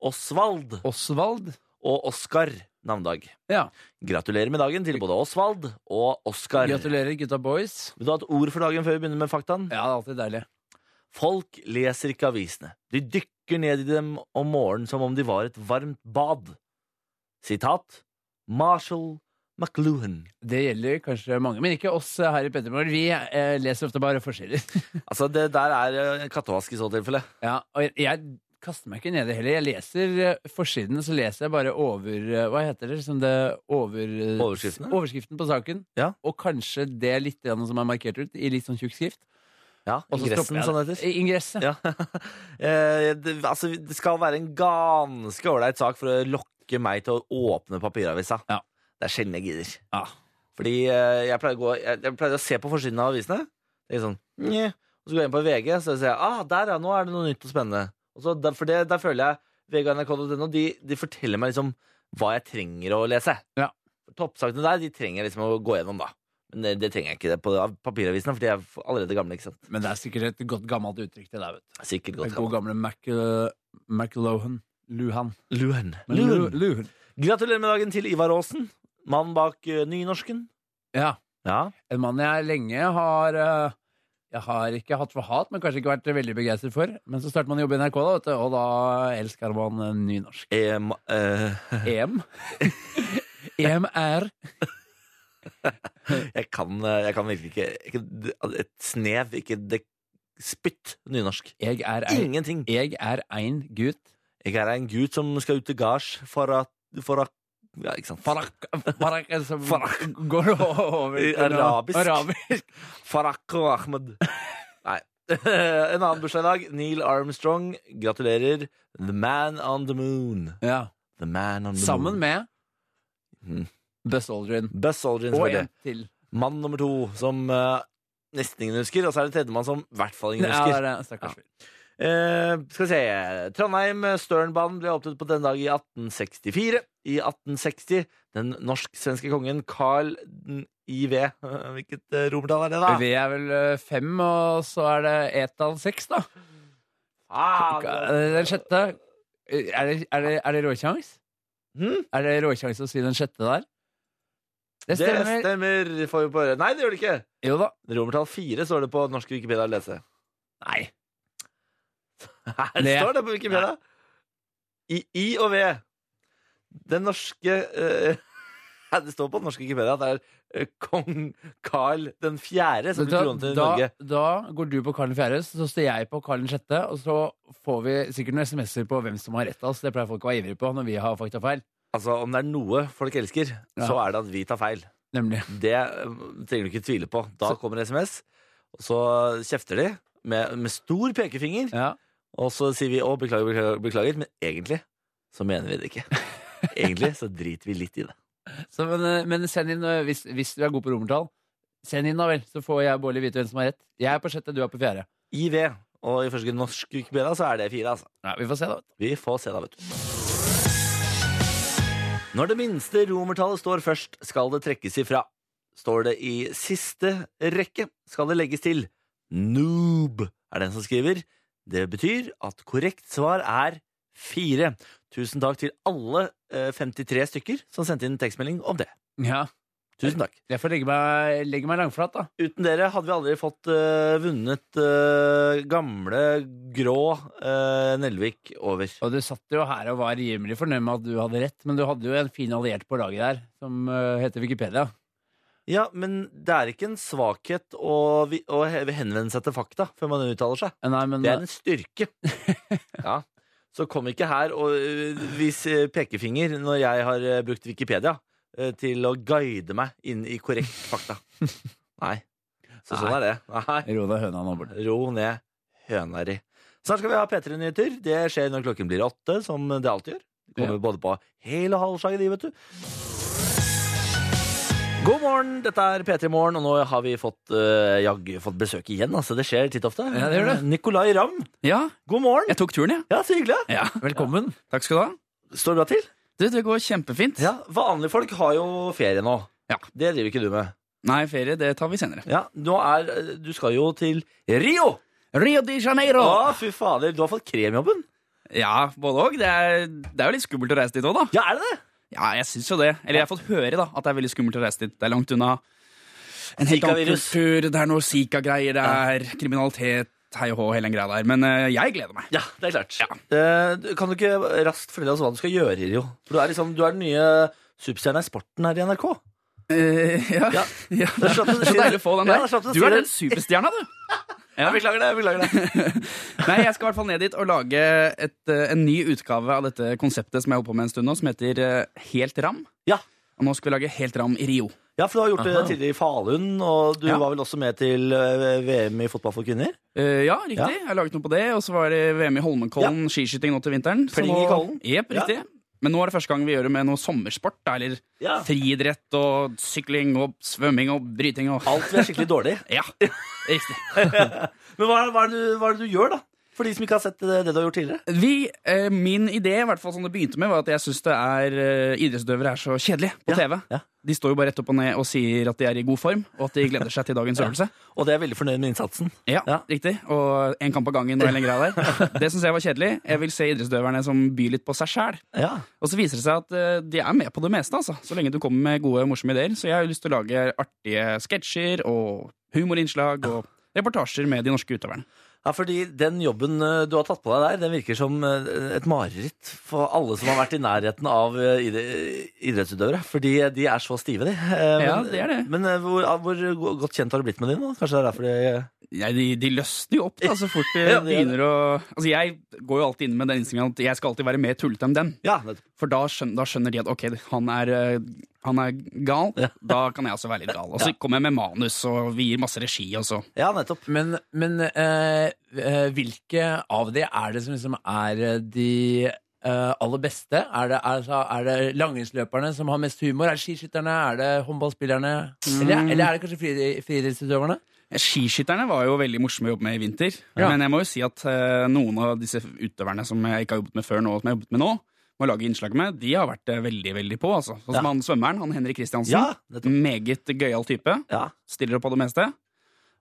Speaker 1: Osvald
Speaker 4: Osvald.
Speaker 1: og Oskar navnedag.
Speaker 4: Ja.
Speaker 1: Gratulerer med dagen til både Osvald og Oskar. Vil
Speaker 4: Gratulerer, gutta boys.
Speaker 1: du ha et ord for dagen før vi begynner med faktaen?
Speaker 4: Ja, det er alltid deilig.
Speaker 1: Folk leser ikke avisene. De dykker ned i dem om morgenen som om de var et varmt bad. Sitat Marshall McLuhan.
Speaker 4: Det gjelder kanskje mange, men ikke oss her i Pettermorgen. Vi eh, leser ofte bare forskjeller.
Speaker 1: Altså, det der er eh, kattevask i så tilfelle.
Speaker 4: [laughs] Ja, og jeg, jeg kaster meg ikke ned i det heller. Jeg leser eh, forsiden, så leser jeg bare over eh, Hva heter det? Liksom det over, eh,
Speaker 1: Overskriften, ja.
Speaker 4: overskriften på saken.
Speaker 1: Ja.
Speaker 4: Og kanskje det litt grann som er markert ut i litt sånn tjukk skrift.
Speaker 1: Ja,
Speaker 4: Og så
Speaker 1: Ingressen,
Speaker 4: stopper jeg
Speaker 1: sånn
Speaker 4: det.
Speaker 1: heter.
Speaker 4: I Ingresset.
Speaker 1: Ja. [laughs] Eh, det, altså, det skal være en ganske ålreit sak for å lokke meg til å åpne papiravisa.
Speaker 4: Ja.
Speaker 1: Det er sjelden jeg gidder.
Speaker 4: Ja.
Speaker 1: Fordi eh, jeg pleier, å gå, jeg, jeg pleier å se på forsiden av avisene. Det er sånn, «Nje». Og så går jeg inn på VG, så ser jeg ah, der ja, nå er det noe nytt og spennende. Og så der, for det, der føler jeg VG og NRK.no de, de forteller meg liksom hva jeg trenger å lese.
Speaker 4: Ja.
Speaker 1: Toppsakene der de trenger jeg liksom å gå gjennom, da. Men det, det trenger jeg ikke det på av papiravisene, for de er allerede gamle. ikke sant?
Speaker 4: Men det er sikkert et godt gammelt uttrykk, det der, vet du.
Speaker 1: Sikkert
Speaker 4: Den
Speaker 1: godt.
Speaker 4: gode gamle Mac, eh, McLohan. Luhan.
Speaker 1: Luren.
Speaker 4: Men Lu- Luhan.
Speaker 1: Gratulerer med dagen til Ivar Aasen, mannen bak eh, Nynorsken.
Speaker 4: Ja.
Speaker 1: Ja.
Speaker 4: En mann jeg lenge har eh, Jeg har ikke hatt for hat, men kanskje ikke vært veldig begeistret for. Men så starter man å jobbe i NRK, da, vet du, og da elsker man eh, [laughs] nynorsk.
Speaker 1: Eh, ma- eh,
Speaker 4: EM. [laughs] EM er
Speaker 1: Jeg kan, eh, jeg kan virkelig ikke, ikke Et snev, ikke det spytt nynorsk.
Speaker 4: Jeg er ein,
Speaker 1: Ingenting.
Speaker 4: jeg er ein gutt.
Speaker 1: Jeg er en gutt som skal ut til gards for å for å- ja, ikke sant.
Speaker 4: Farak, farak, altså, Går det over til noe
Speaker 1: Arabisk.
Speaker 4: arabisk.
Speaker 1: Farak og
Speaker 4: [laughs]
Speaker 1: Ahmed. Nei. [laughs] En annen bursdag i dag. Neil Armstrong. Gratulerer. The man on the moon.
Speaker 4: Ja. Mm.
Speaker 1: The man on the
Speaker 4: Sammen
Speaker 1: moon.
Speaker 4: med
Speaker 1: Mhm.
Speaker 4: Buzz Aldrin.
Speaker 1: Buzz Aldrin,
Speaker 4: Og
Speaker 1: selvfølgelig.
Speaker 4: en til.
Speaker 1: Mann nummer to, som eh, nesten ingen husker. Og så er det tredjemann som i hvert fall ingen
Speaker 4: Ja,
Speaker 1: husker.
Speaker 4: det er det. Stakkars fyr.
Speaker 1: Eh, skal vi se Trondheim Sternbanen ble åpnet på denne dag i 1864. I 1860 den norsk-svenske kongen Carl den IV [laughs] Hvilket eh, romertall er det, da?
Speaker 4: Vi er vel eh, fem, og så er det ett av seks, da.
Speaker 1: Ah,
Speaker 4: Ka- eh, Den sjette Er det, er det, er det råkjangs?
Speaker 1: hm?
Speaker 4: Er det råkjangs å si den sjette der? Det
Speaker 1: Det stemmer.
Speaker 4: stemmer.
Speaker 1: får vi bare Nei, det gjør det ikke!
Speaker 4: Jo da.
Speaker 1: Romertall 4 står det på norsk Wikipedia å lese.
Speaker 4: Nei.
Speaker 1: [laughs] Her
Speaker 4: Det-
Speaker 1: står det på Wikipedia! I, I og V. Den norske eh, [laughs] Det står på norsk Wikipedia at det er eh, kong Carl den fjerde som blir
Speaker 4: Da,
Speaker 1: kronet til
Speaker 4: da,
Speaker 1: Norge.
Speaker 4: da går du på Karl 4., så står jeg på Karl 6., og så får vi sikkert noen SMS-er på hvem som har rett av oss. Det pleier folk å være ivrige på når vi har faktafeil.
Speaker 1: Altså, Om det er noe folk elsker,
Speaker 4: Ja.
Speaker 1: så er det at vi tar feil. [laughs]
Speaker 4: Nemlig.
Speaker 1: Det øh, trenger du ikke tvile på. Da
Speaker 4: Så-
Speaker 1: kommer SMS. Og så kjefter de med, med stor pekefinger.
Speaker 4: Ja.
Speaker 1: Og så sier vi å, beklager, beklager, beklager. Men egentlig så mener vi det ikke. Egentlig så driter vi litt i det.
Speaker 4: Så, men, eh, men send inn, eh, hvis, hvis du er god på romertall, send inn da vel, så får jeg og Bårli vite hvem som har rett. Jeg er på sjette, du er på fjerde.
Speaker 1: IV. Og ifølge norsk Wikipedia så er det fire, altså.
Speaker 4: Nei, vi får se, da.
Speaker 1: Vi får se da, vet du. Når det minste romertallet står først, skal det trekkes ifra. Står det i siste rekke, skal det legges til. Noob er den som skriver. Det betyr at korrekt svar er fire. Tusen takk til alle eh, 53 stykker som sendte inn tekstmelding om det.
Speaker 4: Ja,
Speaker 1: Tusen takk.
Speaker 4: Jeg får legge meg, legge meg langflat, da.
Speaker 1: Uten dere hadde vi aldri fått eh, vunnet eh, gamle, grå eh, Nelvik over.
Speaker 4: Og du satt jo her og var rimelig fornøyd med at du hadde rett, men du hadde jo en fin alliert på laget der, som eh, heter Wikipedia.
Speaker 1: Ja, men det er ikke en svakhet å, vi- å he- henvende seg til fakta før man uttaler seg.
Speaker 4: Eh, Nei, men
Speaker 1: Det er en styrke. Ja. Så kom ikke her og ø, vis ø, pekefinger når jeg har ø, brukt Wikipedia ø, til å guide meg inn i korrekt fakta. Nei. Så sånn er det. Nei.
Speaker 4: Ro deg høna nå, Bård.
Speaker 1: Ro ned høna di. Snart skal vi ha P3-nyheter. Det skjer når klokken blir åtte, som det alltid gjør. Det Kommer både på hel og halv slag, de, vet du. God morgen, dette er P3 Morgen, og nå har vi fått, eh, jaggu fått besøk igjen. Altså, det skjer titt og ofte.
Speaker 4: Ja, det gjør det.
Speaker 1: Nicolai Ramm,
Speaker 5: Ja,
Speaker 1: god morgen.
Speaker 5: jeg tok turen, jeg.
Speaker 1: Ja, så hyggelig.
Speaker 5: Ja.
Speaker 4: Velkommen.
Speaker 5: Takk skal du ha.
Speaker 1: Står det bra til?
Speaker 5: Du, det går kjempefint.
Speaker 1: Ja, Vanlige folk har jo ferie nå.
Speaker 5: Ja.
Speaker 1: Det driver ikke du med.
Speaker 5: Nei, ferie, det tar vi senere.
Speaker 1: Ja, nå er, eh, Du skal jo til Rio!
Speaker 5: Rio de Janeiro!
Speaker 1: Å, fy fader, du har fått kremjobben.
Speaker 5: Ja, både òg. Det, er- det er jo litt skummelt å reise dit òg, da.
Speaker 1: Ja, er det det?
Speaker 5: Ja, jeg syns jo det. Eller jeg har fått høre da, at det er veldig skummelt å reise dit. Det er langt unna en helt annen
Speaker 1: Zika-virus.
Speaker 5: kultur, det er noe Zika-greier, det er kriminalitet, hei og hå, hele den greia der. Men eh, jeg gleder meg.
Speaker 1: Ja, det er klart. Eh, du- kan du ikke raskt fortelle oss hva du skal gjøre, Rio? For du er, liksom, du er den nye superstjerna i sporten her i NRK.
Speaker 5: Eh, ja.
Speaker 1: Ja.
Speaker 5: [laughs] Ja,
Speaker 1: Det er
Speaker 5: det
Speaker 1: slapp
Speaker 5: er
Speaker 1: å si
Speaker 5: så deilig
Speaker 1: det.
Speaker 5: å få den
Speaker 1: Ja,
Speaker 5: der.
Speaker 1: det er slapp å
Speaker 5: du
Speaker 1: si
Speaker 5: er
Speaker 1: det.
Speaker 5: den superstjerna, du.
Speaker 1: Ja, beklager det. beklager
Speaker 5: [laughs]
Speaker 1: det.
Speaker 5: Nei, jeg skal i hvert fall ned dit og lage et, eh, en ny utgave av dette konseptet som jeg holder på med en stund nå, som heter eh, Helt ram.
Speaker 1: Ja.
Speaker 5: Og nå skal vi lage Helt ram i Rio.
Speaker 1: Ja, for du har gjort det tidligere i Falun, og du
Speaker 5: Ja.
Speaker 1: var vel også med til eh, VM i fotball for kvinner?
Speaker 5: Eh, ja, riktig.
Speaker 1: Ja.
Speaker 5: Jeg har laget noe på det. Og så var det VM i Holmenkollen, skiskyting nå til vinteren. Så
Speaker 1: Pling
Speaker 5: nå-
Speaker 1: i kollen.
Speaker 5: Jep,
Speaker 1: Ja.
Speaker 5: riktig. Men nå er det første gang vi gjør det med noe sommersport. Da, eller
Speaker 1: Ja.
Speaker 5: friidrett og sykling og svømming og bryting og
Speaker 1: Alt ble
Speaker 5: [laughs]
Speaker 1: skikkelig dårlig.
Speaker 5: Ja, riktig.
Speaker 1: Men hva, hva, er det, du- hva er det du gjør, da? For de som ikke har sett eh, det, det du har gjort tidligere.
Speaker 5: Vi, eh, min idé, i hvert fall som det begynte med, var at jeg syns eh, idrettsutøvere er så kjedelige på
Speaker 1: Ja,
Speaker 5: TV.
Speaker 1: ja.
Speaker 5: De står jo bare rett opp og ned og sier at de er i god form, og at de gleder seg til dagens øvelse.
Speaker 1: Og det er jeg veldig fornøyd med innsatsen.
Speaker 5: Ja,
Speaker 1: Ja.
Speaker 5: riktig. Og én kamp av gangen og hele greia der. Det syns jeg var kjedelig. Jeg vil se idrettsutøverne som byr litt på seg sjæl.
Speaker 1: Ja.
Speaker 5: Og så viser det seg at eh, de er med på det meste, altså. Så lenge du kommer med gode, morsomme ideer. Så jeg har jo lyst til å lage artige sketsjer og humorinnslag og reportasjer med de norske utøverne.
Speaker 1: ja, fordi den jobben eh, du har tatt på deg der, den virker som eh, et mareritt for alle som har vært i nærheten av eh, idre- idrettsutøvere. Fordi de er så stive, de. Eh,
Speaker 5: Ja,
Speaker 1: men-
Speaker 5: det er det.
Speaker 1: Men eh, hvor, ah, hvor go- godt kjent har du blitt med dem nå? Kanskje det er derfor eh, det
Speaker 5: Nei, de, de løsner jo opp da, så fort [laughs] de
Speaker 1: Ja, det gjør det.
Speaker 5: begynner å Altså, jeg går jo alltid inn med den innstillingen at jeg skal alltid være mer tullete enn dem.
Speaker 1: Ja, nettopp.
Speaker 5: For da skjønner, da skjønner de at ok, han er, eh, han er gal,
Speaker 1: Ja.
Speaker 5: da kan jeg også være litt gal. Og så kommer jeg med manus, og vi gir masse regi, og så
Speaker 1: Ja, nettopp.
Speaker 4: Men, men eh, eh, hvilke av de er det som liksom er eh, de eh, aller beste? Er det, er, er det langrennsløperne som har mest humor? Er det skiskytterne? Er det håndballspillerne? Eller,
Speaker 5: Mm.
Speaker 4: eller er det kanskje fri- friidrettsutøverne?
Speaker 5: Skiskytterne var jo veldig morsomme å jobbe med i vinter.
Speaker 4: Ja.
Speaker 5: Men jeg må jo si at eh, noen av disse utøverne som jeg ikke har jobbet med før nå, som jeg har jobbet med nå, må lage innslag med, de har vært eh, veldig, veldig på, altså. Sånn som
Speaker 1: Ja.
Speaker 5: han svømmeren, han Henrik Kristiansen.
Speaker 1: Ja, nettopp.
Speaker 5: Meget gøyal type.
Speaker 1: Ja.
Speaker 5: Stiller opp på det meste.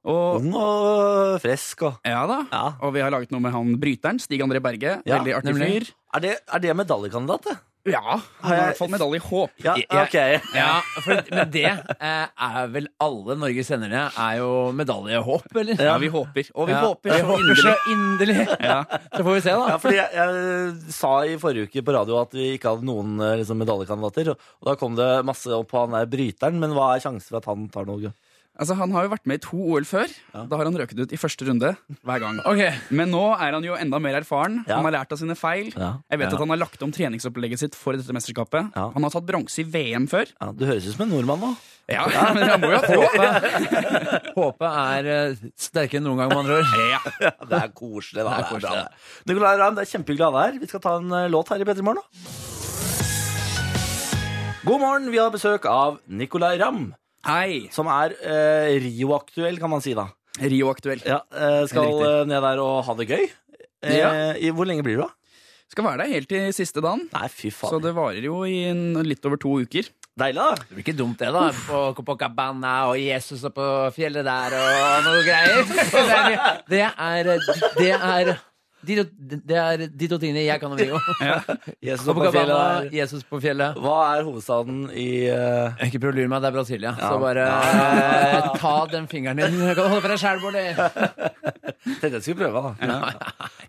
Speaker 5: Og
Speaker 1: Ung og frisk og
Speaker 5: ja da.
Speaker 1: Ja.
Speaker 5: Og vi har laget noe med han bryteren, Stig André Berge.
Speaker 1: Ja,
Speaker 5: veldig artig
Speaker 4: nemlig.
Speaker 5: fyr.
Speaker 1: Er det, er det medaljekandidat, det?
Speaker 5: Ja, han
Speaker 1: Har
Speaker 5: har i
Speaker 1: jeg-
Speaker 5: hvert fall medalje i håp.
Speaker 1: Ja,
Speaker 5: Jeg-
Speaker 1: ok.
Speaker 4: Ja, [laughs] for, men det eh, er vel alle Norges sendere er jo medaljehåp, eller?
Speaker 5: ja, vi håper. Og vi
Speaker 4: Ja,
Speaker 5: håper så
Speaker 4: så
Speaker 5: inderlig.
Speaker 4: inderlig.
Speaker 5: Ja.
Speaker 4: Så får vi se,
Speaker 1: Ja,
Speaker 4: da.
Speaker 1: fordi jeg, jeg sa i forrige uke på radio at vi ikke hadde noen eh, liksom, medaljekandidater. Og og da kom det masse opp på han der bryteren, men hva er sjansen for at han tar noe?
Speaker 5: Altså, Han har jo vært med i to OL før. Da har han røket ut i første runde
Speaker 1: [laughs]
Speaker 5: hver gang.
Speaker 4: Ok,
Speaker 5: Men nå er han jo enda mer erfaren.
Speaker 1: Ja.
Speaker 5: Han har lært av sine feil.
Speaker 1: Ja.
Speaker 5: Jeg vet
Speaker 1: Ja.
Speaker 5: at Han har lagt om treningsopplegget sitt for dette mesterskapet.
Speaker 1: Ja.
Speaker 5: Han har tatt bronse i VM før.
Speaker 1: Ja, du høres ut som en nordmann nå.
Speaker 5: [laughs] Ja, men han
Speaker 1: [laughs]
Speaker 5: må jo ha tro.
Speaker 4: Håpet, håpet er eh, sterkere enn noen gang, med andre ord.
Speaker 5: Ja.
Speaker 1: Det er koselig, da.
Speaker 4: Det er
Speaker 1: bra,
Speaker 4: koselig,
Speaker 1: det. Nicolai Ramm, det er kjempehyggelig å ha deg her. Vi skal ta en eh, låt her i P3 Morgen, da. God morgen. Vi har besøk av Nicolai Ramm,
Speaker 5: Hei,
Speaker 1: som er eh, Rio-aktuell, kan man si, da.
Speaker 5: Rio-aktuell.
Speaker 1: Ja, eh, skal
Speaker 5: Helt riktig.
Speaker 1: eh, ned der og ha det gøy. Eh,
Speaker 5: Ja.
Speaker 1: i, hvor lenge blir du, da?
Speaker 5: Skal være der helt til siste dagen.
Speaker 1: Nei, fy
Speaker 5: Så
Speaker 1: faen.
Speaker 5: det varer jo i en, litt over to uker.
Speaker 1: Deilig, da.
Speaker 4: Det blir ikke dumt, det, da. På Copacabana og Jesus og på fjellet der og noe greier. [laughs] Det er Det er de to, det er de to tingene jeg kan om Rio.
Speaker 1: Jesus og
Speaker 4: Copacabana,
Speaker 1: Papilla.
Speaker 4: Jesus på fjellet.
Speaker 1: Hva er hovedstaden i eh,
Speaker 4: Ikke prøv å lure meg, det er Brasilia.
Speaker 1: Ja.
Speaker 4: Så bare eh, ta den fingeren din. Kan du holde for deg sjæl, Bård?
Speaker 1: Tenkte jeg skulle prøve, da.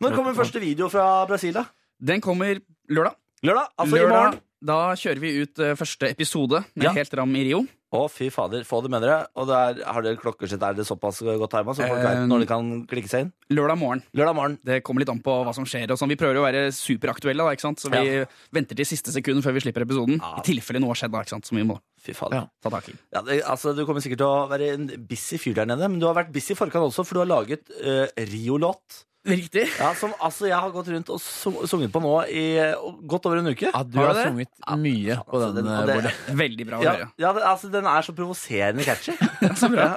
Speaker 1: Når kommer første video fra Brasil, da?
Speaker 5: Den kommer lørdag.
Speaker 1: Lørdag? Altså i
Speaker 5: lørdag
Speaker 1: morgen?
Speaker 5: da kjører vi ut eh, første episode med
Speaker 1: Ja.
Speaker 5: Helt ram i Rio.
Speaker 1: Å, fy fader. Få det med dere. Og det er, har dere klokkesett? Er det såpass godt tima, så folk vet
Speaker 5: Eh,
Speaker 1: når de kan klikke seg inn?
Speaker 5: Lørdag morgen.
Speaker 1: Lørdag morgen.
Speaker 5: Det kommer litt an på hva som skjer. og sånn. Vi prøver jo å være superaktuelle, da, ikke sant? så vi venter til siste sekund før vi slipper episoden.
Speaker 1: Ja.
Speaker 5: I tilfelle noe har skjedd, da, ikke sant? som vi må
Speaker 1: Fy fader.
Speaker 4: Ja.
Speaker 5: ta tak i.
Speaker 1: Ja, det, altså, du kommer sikkert til å være en busy fyr der nede, men du har vært busy i forkant også, for du har laget eh, Rio-låt.
Speaker 5: Riktig.
Speaker 1: Ja, som altså, jeg har gått rundt og su- sunget på nå i eh, godt over en uke.
Speaker 4: At du
Speaker 5: Har
Speaker 4: har
Speaker 5: du det?
Speaker 4: sunget mye på
Speaker 1: Altså,
Speaker 4: den,
Speaker 1: den-
Speaker 4: eh,
Speaker 1: og det-
Speaker 4: Bård.
Speaker 5: Veldig bra å
Speaker 1: Ja,
Speaker 5: høre. [laughs]
Speaker 1: ja det, altså, den er så provoserende catchy.
Speaker 4: [laughs]
Speaker 5: Så bra.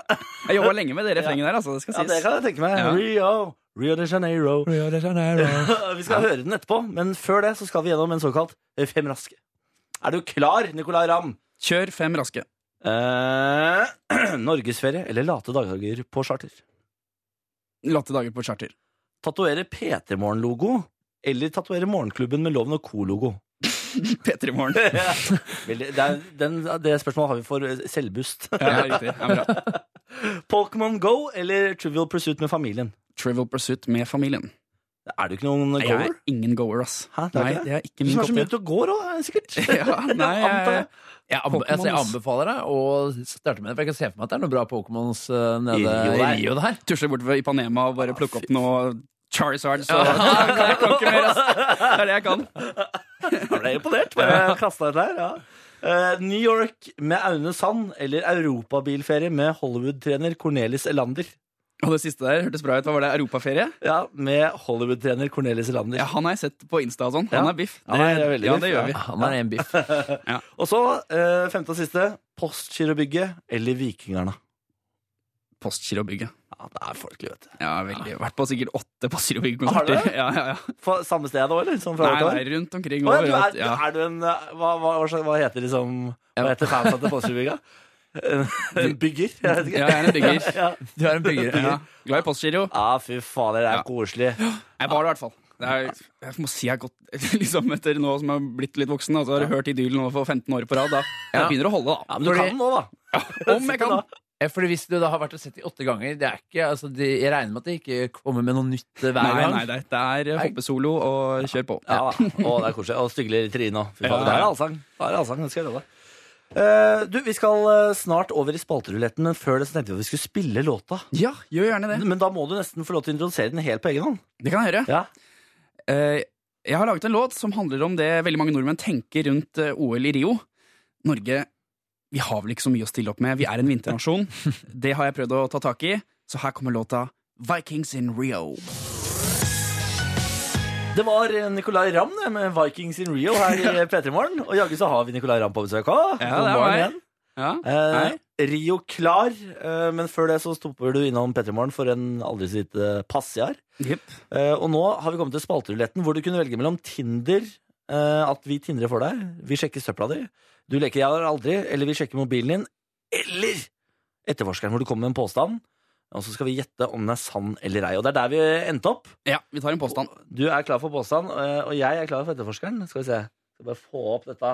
Speaker 5: Jeg jobba lenge med det refrenget der, altså. Det skal
Speaker 1: Ja, det
Speaker 5: sies.
Speaker 1: kan jeg tenke meg.
Speaker 5: Ja.
Speaker 1: Rio, Rio de Janeiro. [laughs] Vi skal høre den etterpå, men før det så skal vi gjennom en såkalt eh, fem raske. Er du klar, Nicolai Ramm?
Speaker 5: Kjør fem raske.
Speaker 1: Eh, [clears throat] Norgesferie eller late dager på charter?
Speaker 5: Latte dager på charter. [laughs]
Speaker 1: Tatovere PT-morgen-logo eller tatovere Morgenklubben med Loven og Co-logo?
Speaker 5: P3 i morgen.
Speaker 1: Veldig- Det, er- den- det spørsmålet har vi for eh, selvbust. [laughs]
Speaker 5: Ja, riktig. Ja, bra.
Speaker 1: Pokémon Go eller Trivial Pursuit med familien?
Speaker 5: Trivial Pursuit med familien.
Speaker 1: Er du ikke noen
Speaker 5: Jeg er
Speaker 1: goer?
Speaker 5: ingen goer, ass.
Speaker 1: Hæ, det er
Speaker 5: Nei,
Speaker 1: ikke det?
Speaker 5: det er ikke
Speaker 1: Du
Speaker 5: min
Speaker 1: som er så mye
Speaker 5: kopp.
Speaker 1: ute og går òg, [laughs] sikkert.
Speaker 5: te. [laughs] Ja, nei,
Speaker 1: Antar jeg.
Speaker 5: jeg,
Speaker 4: Jeg, anbe
Speaker 5: Pokémon,
Speaker 4: altså, jeg
Speaker 5: ass.
Speaker 4: anbefaler deg å starte med det, for jeg kan se for meg at det er noen bra Pokémons eh, nede
Speaker 1: I
Speaker 4: i
Speaker 1: Rio
Speaker 4: Rio
Speaker 1: der.
Speaker 4: der.
Speaker 5: eh, tusler bort ved Ipanema og bare plukker opp noe Charizard. [laughs] Så
Speaker 4: Ja.
Speaker 5: jeg kan ikke mer, ass. Det er det jeg kan.
Speaker 1: Jeg ble imponert. Bare kasta ut der. Ja. Eh, New York med Aune Sand eller europabilferie med Hollywood-trener Cornelis Elander?
Speaker 5: Og det siste der hørtes bra ut. Hva var det? Europaferie?
Speaker 1: Ja, med Hollywood-trener Cornelis Elander.
Speaker 5: Ja, han har jeg sett på Insta og sånn.
Speaker 1: Ja.
Speaker 5: Han er biff.
Speaker 1: Han er veldig
Speaker 5: ja,
Speaker 1: biff,
Speaker 5: det
Speaker 1: ja.
Speaker 5: gjør vi.
Speaker 4: Han er en biff.
Speaker 1: Og så, eh, femte og siste, Postgirobygget eller Vikingarna?
Speaker 5: Postgirobygget.
Speaker 1: Ja, det er folkelig, vet du.
Speaker 5: Ja, veldig. Vært på sikkert åtte
Speaker 1: Har du
Speaker 5: Postgirobygg-konserter.
Speaker 1: det?
Speaker 5: Ja, ja, ja.
Speaker 1: For, samme sted òg, eller? Sånn fra
Speaker 5: Nei,
Speaker 1: hvert år?
Speaker 5: nei, rundt
Speaker 1: Å,
Speaker 5: omkring.
Speaker 1: ja, du
Speaker 5: overalt,
Speaker 1: er,
Speaker 5: ja.
Speaker 1: er du en eh, Hva, hva, hva, slags- hva heter liksom Hva heter fansa til
Speaker 5: [laughs]
Speaker 1: [laughs] Postgirobygget? En en bygger? Jeg vet ikke.
Speaker 5: Ja, jeg er en bygger.
Speaker 1: [laughs] Ja.
Speaker 4: Du er en bygger.
Speaker 5: Ja. Glad i Postgiro.
Speaker 1: Ja, fy fader, det er
Speaker 5: Ja.
Speaker 1: koselig.
Speaker 5: Jeg var det i hvert fall. Det er, jeg må si jeg har gått [laughs] liksom etter nå som jeg har blitt litt voksen, altså har du hørt Idyll nå for 15 år på rad. Da. Jeg begynner å holde, da.
Speaker 1: Men du
Speaker 4: Fordi-
Speaker 1: kan nå, da.
Speaker 5: Om jeg kan.
Speaker 4: Ja, Eh, Fordi Hvis du da har vært og sett de åtte ganger det er ikke, altså, de, Jeg regner med at de ikke kommer med noe nytt eh, hver
Speaker 5: Nei,
Speaker 4: gang.
Speaker 5: nei, nei, det er hoppesolo og kjør på.
Speaker 1: Ja, da. Å, det er koselig. Og styggelig trine òg. Fy
Speaker 5: Ja,
Speaker 1: faen,
Speaker 5: ja.
Speaker 1: da er det allsang. Da er det allsang, det skal jeg love deg. Eh, du, Vi skal eh, snart over i spalteruletten, men før det så tenkte vi at vi skulle spille låta.
Speaker 5: Ja, gjør gjerne det.
Speaker 1: Men da må du nesten få lov til å introdusere den helt på egen hånd.
Speaker 5: Det kan jeg gjøre.
Speaker 1: Ja.
Speaker 5: Eh, Jeg har laget en låt som handler om det veldig mange nordmenn tenker rundt eh, OL i Rio. Norge vi har vel ikke så mye å stille opp med. Vi er en vinternasjon. Det har jeg prøvd å ta tak i. Så her kommer låta Vikings in Rio.
Speaker 1: Det var eh, Nicolai Ramm det, med Vikings in Rio her
Speaker 5: [laughs]
Speaker 1: i P3 Morgen. Og jaggu så har vi Nicolai Ramm på besøk òg.
Speaker 5: Ja, det er meg. Ja.
Speaker 1: Eh, Rio klar, eh, men før det så stopper du innom P3 Morgen for en aldri så lite pass jeg har.
Speaker 5: Jepp.
Speaker 1: Eh, og nå har vi kommet til spalteruletten, hvor du kunne velge mellom Tinder, eh, at vi tindrer for deg, vi sjekker søpla di, du leker jeg har aldri, eller vi sjekker mobilen din, eller etterforskeren hvor du kommer med en påstand, og så skal vi gjette om den er sann eller ei. Og det er der vi endte opp.
Speaker 5: Ja, vi tar en påstand.
Speaker 1: Du er klar for påstand, eh, og jeg er klar for etterforskeren. Skal vi se. Skal bare få opp dette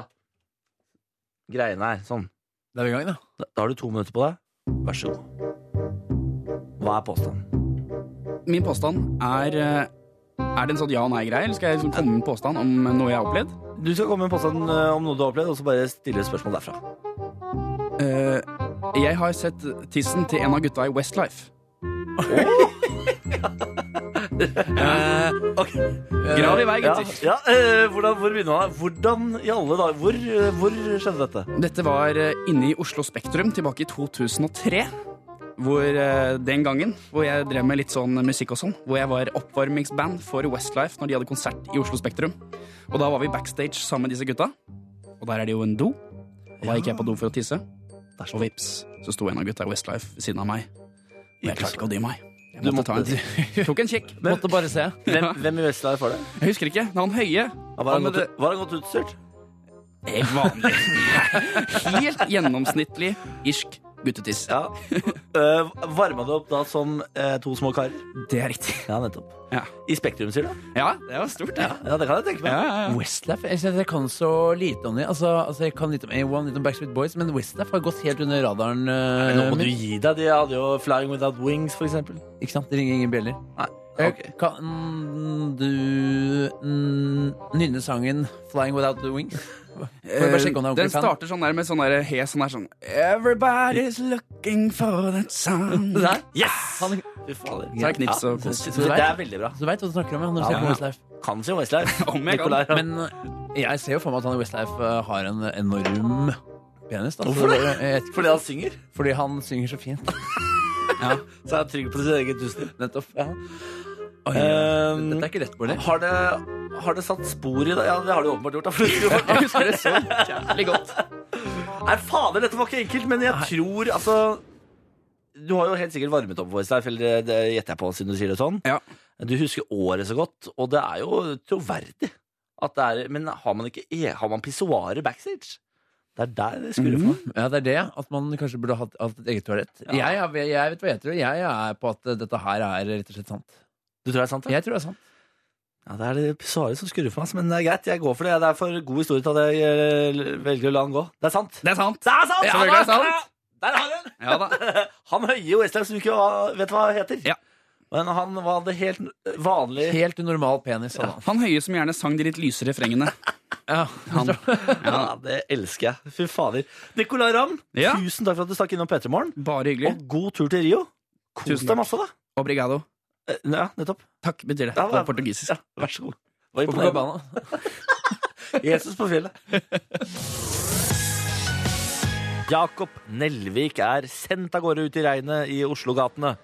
Speaker 1: greiene her. Sånn.
Speaker 4: Da er vi i gang, da.
Speaker 1: Da da har du to minutter på deg. Vær så god. Hva er påstanden?
Speaker 5: Min påstand er eh, Er det en sånn ja- og nei-greie, eller skal jeg liksom komme med en påstand om noe jeg har opplevd?
Speaker 1: Du skal komme med en påstand eh, om noe du har opplevd, og så bare stille et spørsmål derfra.
Speaker 5: Eh, Jeg har sett tissen til en av gutta i Westlife.
Speaker 1: Ok.
Speaker 5: Eh, Grav i vei,
Speaker 1: Ja,
Speaker 5: gutter.
Speaker 1: ja, eh, hvordan, hvor begynner man? Hvordan i alle dager Hvor, eh, hvor skjedde dette?
Speaker 5: Dette var eh, inne i Oslo Spektrum tilbake i 2003. Hvor eh, Den gangen hvor jeg drev med litt sånn musikk og sånn. Hvor jeg var oppvarmingsband for Westlife når de hadde konsert i Oslo Spektrum. Og da var vi backstage sammen med disse gutta. Og der er det jo en do. Og da gikk jeg på do for å tisse. Og vips, så sto en av gutta i Westlife ved siden av meg. Og jeg klarte ikke å dy meg. Jeg
Speaker 1: Du
Speaker 5: måtte ta
Speaker 1: måtte-
Speaker 5: en Tok en kikk.
Speaker 1: Men-
Speaker 4: Måtte bare se.
Speaker 5: Ja.
Speaker 1: Hvem i Vestlandet var det?
Speaker 5: Jeg husker ikke. Det var han høye.
Speaker 1: Ja, var,
Speaker 5: Han
Speaker 1: han
Speaker 5: med
Speaker 1: godt, var han godt utstyrt?
Speaker 5: Helt vanlig. [laughs] Helt gjennomsnittlig irsk guttetiss.
Speaker 1: [laughs] Ja. Uh, Varma det opp da som eh, to små karer?
Speaker 5: Det er
Speaker 4: [laughs]
Speaker 5: riktig.
Speaker 1: Ja, nettopp.
Speaker 5: Ja.
Speaker 1: I Spektrum, sier du?
Speaker 5: Ja, det var stort, det.
Speaker 1: Ja, det kan jeg tenke meg.
Speaker 4: Westlife? Jeg, synes jeg kan så lite om dem. Altså, altså, jeg kan litt om A1, litt om Backstreet Boys, men Westlife har gått helt under radaren. eh,
Speaker 1: Nå må du
Speaker 4: min.
Speaker 1: gi deg. De hadde jo Flying Without Wings, for eksempel.
Speaker 4: Ikke sant? Det ringer ingen bjeller.
Speaker 1: Nei,
Speaker 4: Eh,
Speaker 1: ok.
Speaker 4: Kan du mm, nynne sangen 'Flying Without the
Speaker 1: [laughs]
Speaker 4: Wings'? Får jeg bare sjekke om
Speaker 1: Eh,
Speaker 4: det er
Speaker 5: Den
Speaker 4: ordentlig fan?
Speaker 5: starter sånn der med sånn der hes sånn der sånn Everybody's looking for that
Speaker 4: [laughs]
Speaker 5: sound.
Speaker 4: Det der?
Speaker 1: Yes!
Speaker 4: Han-
Speaker 1: Ah, Fy fader.
Speaker 5: Så er det knips og
Speaker 1: Ja,
Speaker 5: kos.
Speaker 1: så- så- Det er veldig bra.
Speaker 4: Så du veit hva du snakker om? ja, når du
Speaker 1: Ja,
Speaker 4: ser på
Speaker 5: ja.
Speaker 4: Westlife
Speaker 1: Kan si Westlife.
Speaker 5: Om jeg kan.
Speaker 1: Nicolai, ja.
Speaker 4: Men eh, jeg ser jo for meg at han i Westlife eh, har en enorm penis. da. Så
Speaker 1: Hvorfor det?
Speaker 4: jeg vet ikke.
Speaker 1: Fordi han synger,
Speaker 4: Fordi han synger så fint.
Speaker 1: så er han trygg på sitt eget tusen.
Speaker 4: Nettopp. Oi,
Speaker 1: Um,
Speaker 4: Dette er ikke rett, Bård.
Speaker 1: Har det, har det satt spor i deg? Ja, det har det jo åpenbart gjort. Da. for det skulle vært-
Speaker 5: Jeg husker det så jævlig godt.
Speaker 1: Nei, fader, dette var ikke enkelt, men jeg tror altså Du har jo helt sikkert varmet opp Westlife, eller det- det gjetter jeg på, siden du sier det sånn.
Speaker 5: Ja.
Speaker 1: Du husker året så godt, og det er jo troverdig. At det er, men har man ikke e- Har man pissoarer backstage? Det er der det skurrer for
Speaker 5: Mm.
Speaker 1: meg.
Speaker 4: Ja, det er det. At man kanskje burde hatt, hatt et eget toalett.
Speaker 1: Ja.
Speaker 4: Jeg, er- jeg vet hva jeg tror. Jeg er på at dette her er rett og slett sant.
Speaker 1: Du tror det er sant? Ja,
Speaker 4: Jeg tror det er sant.
Speaker 1: ja det er det pissoarer som skurrer for meg, men det er greit. Jeg går for det. Det er for god historie til at jeg eh, velger å la den gå. Det er sant.
Speaker 5: Det er sant.
Speaker 1: Det er sant!
Speaker 5: Ja, selvfølgelig er det
Speaker 1: da!
Speaker 5: sant.
Speaker 1: Der har du den!
Speaker 5: Ja da.
Speaker 1: [laughs] Han høye i Westlife som du ikke hva- vet hva heter.
Speaker 5: Ja.
Speaker 1: Men han hadde helt vanlig
Speaker 4: Helt normal penis. sa han.
Speaker 5: Han høye som gjerne sang de litt lyse refrengene.
Speaker 4: Ja.
Speaker 5: Han.
Speaker 1: Ja, det elsker jeg. Fy fader. Nicolay Ramm,
Speaker 5: Ja.
Speaker 1: tusen takk for at du stakk innom P3 Morgen.
Speaker 5: Bare hyggelig.
Speaker 1: Og god tur til Rio. Kos
Speaker 5: Tusen
Speaker 1: deg
Speaker 5: takk.
Speaker 1: masse, da.
Speaker 5: Obrigado.
Speaker 1: Eh, Ja, nettopp.
Speaker 5: Takk betyr det
Speaker 1: Ja,
Speaker 5: på
Speaker 1: hva-
Speaker 5: portugisisk.
Speaker 1: Ja, vær så god. Det var
Speaker 4: På
Speaker 1: imponerende.
Speaker 4: Copacabana.
Speaker 1: Jesus på
Speaker 5: [laughs]
Speaker 1: fjellet. Jakob Nelvik er sendt av gårde ut i regnet i Oslo-gatene.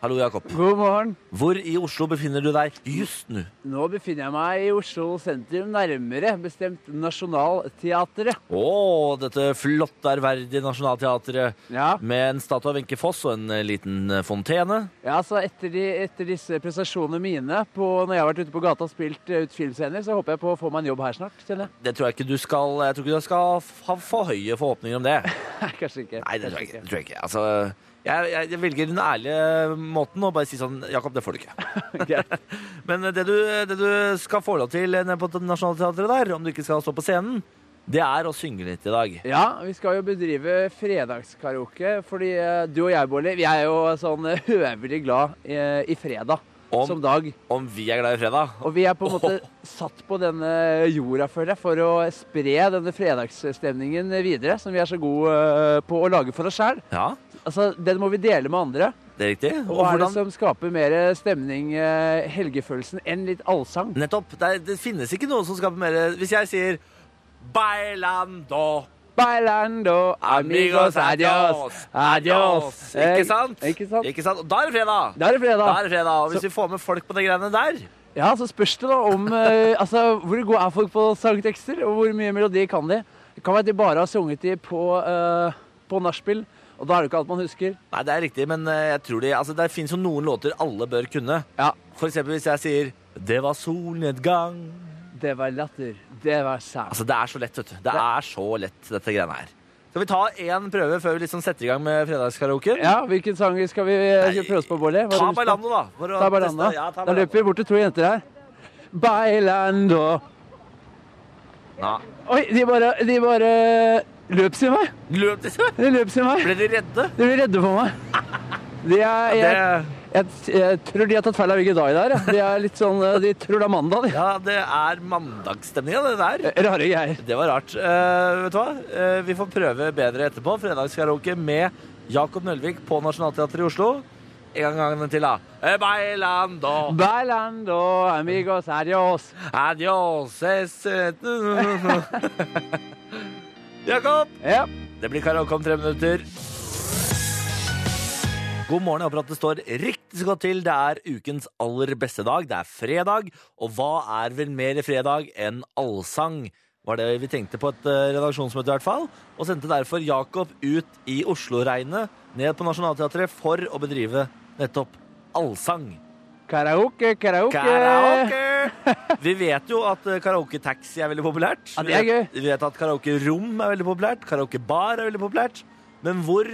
Speaker 1: Hallo, Jakob.
Speaker 6: God morgen.
Speaker 1: Hvor i Oslo befinner du deg just nå?
Speaker 6: Nå befinner jeg meg i Oslo sentrum, nærmere bestemt Nationaltheatret.
Speaker 1: Å, dette flotte, ærverdige Nationaltheatret.
Speaker 6: Ja,
Speaker 1: Med en statue av Wenche Foss og en eh, liten eh, fontene.
Speaker 6: ja så etter, de, etter disse prestasjonene mine på, når jeg har vært ute på gata og spilt eh, ut filmscener, så håper jeg på å få meg en jobb her snart, kjenner jeg. [laughs]
Speaker 1: Det tror jeg ikke du skal Jeg tror ikke du skal ha for høye forhåpninger om det.
Speaker 6: Nei, Kanskje ikke.
Speaker 1: Nei, det tror
Speaker 6: Kanskje
Speaker 1: jeg ikke. Det tror jeg, ikke. Altså, jeg, jeg, jeg velger den ærlige eh, måten og bare si sånn Jakob, det får du ikke. [laughs]
Speaker 6: [laughs] Greit.
Speaker 1: Men eh, det du, det du skal få lov til eh, nede på Nationaltheatret der, om du ikke skal stå på scenen, det er å synge litt i dag.
Speaker 6: Ja, vi skal jo bedrive fredagskaraoke, fordi eh, du og jeg, Bolli, vi er jo sånn eh, [laughs] høvelig glad eh, i fredag
Speaker 1: Om-
Speaker 6: som dag.
Speaker 1: Om vi er glad i fredag.
Speaker 6: Og vi er på en måte satt på denne jorda, føler jeg, for å spre denne fredagsstemningen videre, som vi er så gode eh, på å lage for oss sjøl.
Speaker 1: Ja,
Speaker 6: Altså, den må vi dele med andre.
Speaker 1: det er riktig. Og
Speaker 6: Og hva er det
Speaker 1: hvordan
Speaker 6: som skaper mer stemning, eh, helgefølelsen, enn litt allsang?
Speaker 1: Nettopp. Det, er, det finnes ikke noe som skaper mer Hvis jeg sier Bailando
Speaker 6: Bailando, amigos, adios, adios.
Speaker 1: Ikke sant?
Speaker 6: Eh, Ikke sant?
Speaker 1: Ikke sant? Og da er det fredag!
Speaker 6: Da er
Speaker 1: Da
Speaker 6: det fredag.
Speaker 1: er det fredag. Og hvis vi får med folk på de greiene der
Speaker 6: Ja, så spørs det da om eh, Altså, hvor gode er folk på sangtekster, og hvor mye melodi kan de? Det kan være at de bare har sunget de på, eh, på nachspiel, og da er det jo ikke alt man husker.
Speaker 1: Nei, det er riktig, men eh, jeg tror de Altså, det finnes jo noen låter alle bør kunne.
Speaker 6: Ja.
Speaker 1: For eksempel hvis jeg sier 'Det var solnedgang'
Speaker 6: Det var latter. Det var sang.
Speaker 1: Altså, det er så lett, vet du. Det er så lett, dette greiene her. Skal vi ta én prøve før vi liksom setter i gang med fredagskaraoken?
Speaker 6: Ja, hvilken sang skal vi skal vi prøve oss på, Bolli? Hva har
Speaker 1: Ta
Speaker 6: du lyst til?
Speaker 1: Bailando, da. for å
Speaker 6: Ta Bailando.
Speaker 1: teste. Ja, ta
Speaker 6: Da
Speaker 1: Bailando.
Speaker 6: løper vi bort til to jenter her. Bailando.
Speaker 1: Ja.
Speaker 6: Oi, de bare, de bare løp sin vei.
Speaker 1: Løp de
Speaker 6: De løp sin vei.
Speaker 1: Ble de redde?
Speaker 6: De blir redde for meg. De er,
Speaker 1: Det
Speaker 6: jeg, Jeg, jeg tror de har tatt feil av hvilken dag det er. jeg. De er litt sånn, eh, de tror det er mandag, de.
Speaker 1: Ja, det er mandagsstemninga, det der.
Speaker 6: Rare greier.
Speaker 1: Det var rart. Eh, vet du hva? Eh, vi får prøve bedre etterpå. Fredagskaraoke med Jakob Nølvik på Nationaltheatret i Oslo. En gang til, da. Eh, Bailando,
Speaker 6: Bailando, amigos, adios.
Speaker 1: adios es- eh, [laughs] Jakob!
Speaker 6: Ja.
Speaker 1: Det blir karaoke om tre minutter. God morgen. Jeg håper at det står riktig så godt til. Det er ukens aller beste dag. Det er fredag, og hva er vel mer fredag enn allsang? Var det vi tenkte på et eh, redaksjonsmøte, i hvert fall. Og sendte derfor Jakob ut i Oslo-regnet, ned på Nationaltheatret, for å bedrive nettopp allsang.
Speaker 6: Karaoke, karaoke.
Speaker 1: Karaoke! [laughs] Vi vet jo at eh, karaoke-taxi er veldig populært.
Speaker 6: Ja, det er gøy.
Speaker 1: Vi vet at karaoke-rom er veldig populært. Karaoke-bar er veldig populært. Men hvor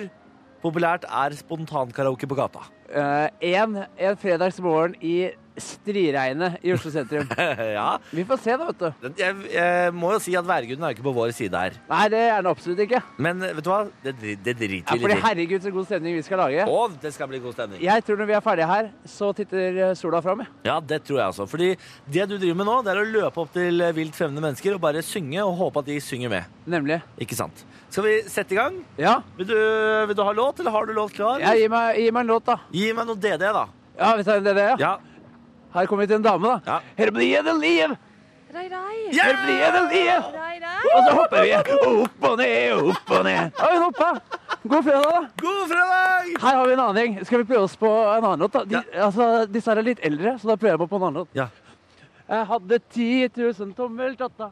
Speaker 1: populært er spontankaraoke på gata? [laughs]
Speaker 6: Eh, en, en fredagsmorgen i striregnet i Oslo sentrum.
Speaker 1: ja,
Speaker 6: Vi får se, da, vet du.
Speaker 1: jeg, jeg må jo si at værguden er ikke på vår side her.
Speaker 6: Nei, det er den absolutt ikke.
Speaker 1: Men eh, vet du hva? Det, dri- det
Speaker 6: Ja,
Speaker 1: driter vi
Speaker 6: fordi
Speaker 1: litt i.
Speaker 6: herregud, så god stemning vi skal lage.
Speaker 1: Å, det skal bli god stemning.
Speaker 6: Jeg tror når vi er ferdige her, så titter eh, sola fram. jeg.
Speaker 1: Ja, det tror jeg også. Fordi det du driver med nå, det er å løpe opp til eh, vilt fremmede mennesker og bare synge og håpe at de synger med.
Speaker 6: Nemlig.
Speaker 1: Ikke sant? Skal vi sette i gang?
Speaker 6: Ja.
Speaker 1: Vil du, vil du ha låt, eller har du låt klar?
Speaker 6: ja gi, meg, gi meg en låt, da.
Speaker 1: Gi meg noe DD, da.
Speaker 6: Ja, vi tar en DD, ja.
Speaker 1: Ja.
Speaker 6: Her kommer vi til en dame, da.
Speaker 1: Ja.
Speaker 6: Her blir det liv!
Speaker 7: Rai, rai.
Speaker 6: Her blir det liv!
Speaker 7: Rai, rai.
Speaker 6: Og så hopper vi opp og ned, opp og ned. Ja, hun hoppa. God fredag, da.
Speaker 1: God fredag!
Speaker 6: Her har vi en annen gjeng. Skal vi prøve oss på en annen låt? da? De, altså, disse her er litt eldre, så da prøver jeg meg på en annen låt.
Speaker 1: Ja.
Speaker 6: Jeg hadde 10 000 tommeltotta.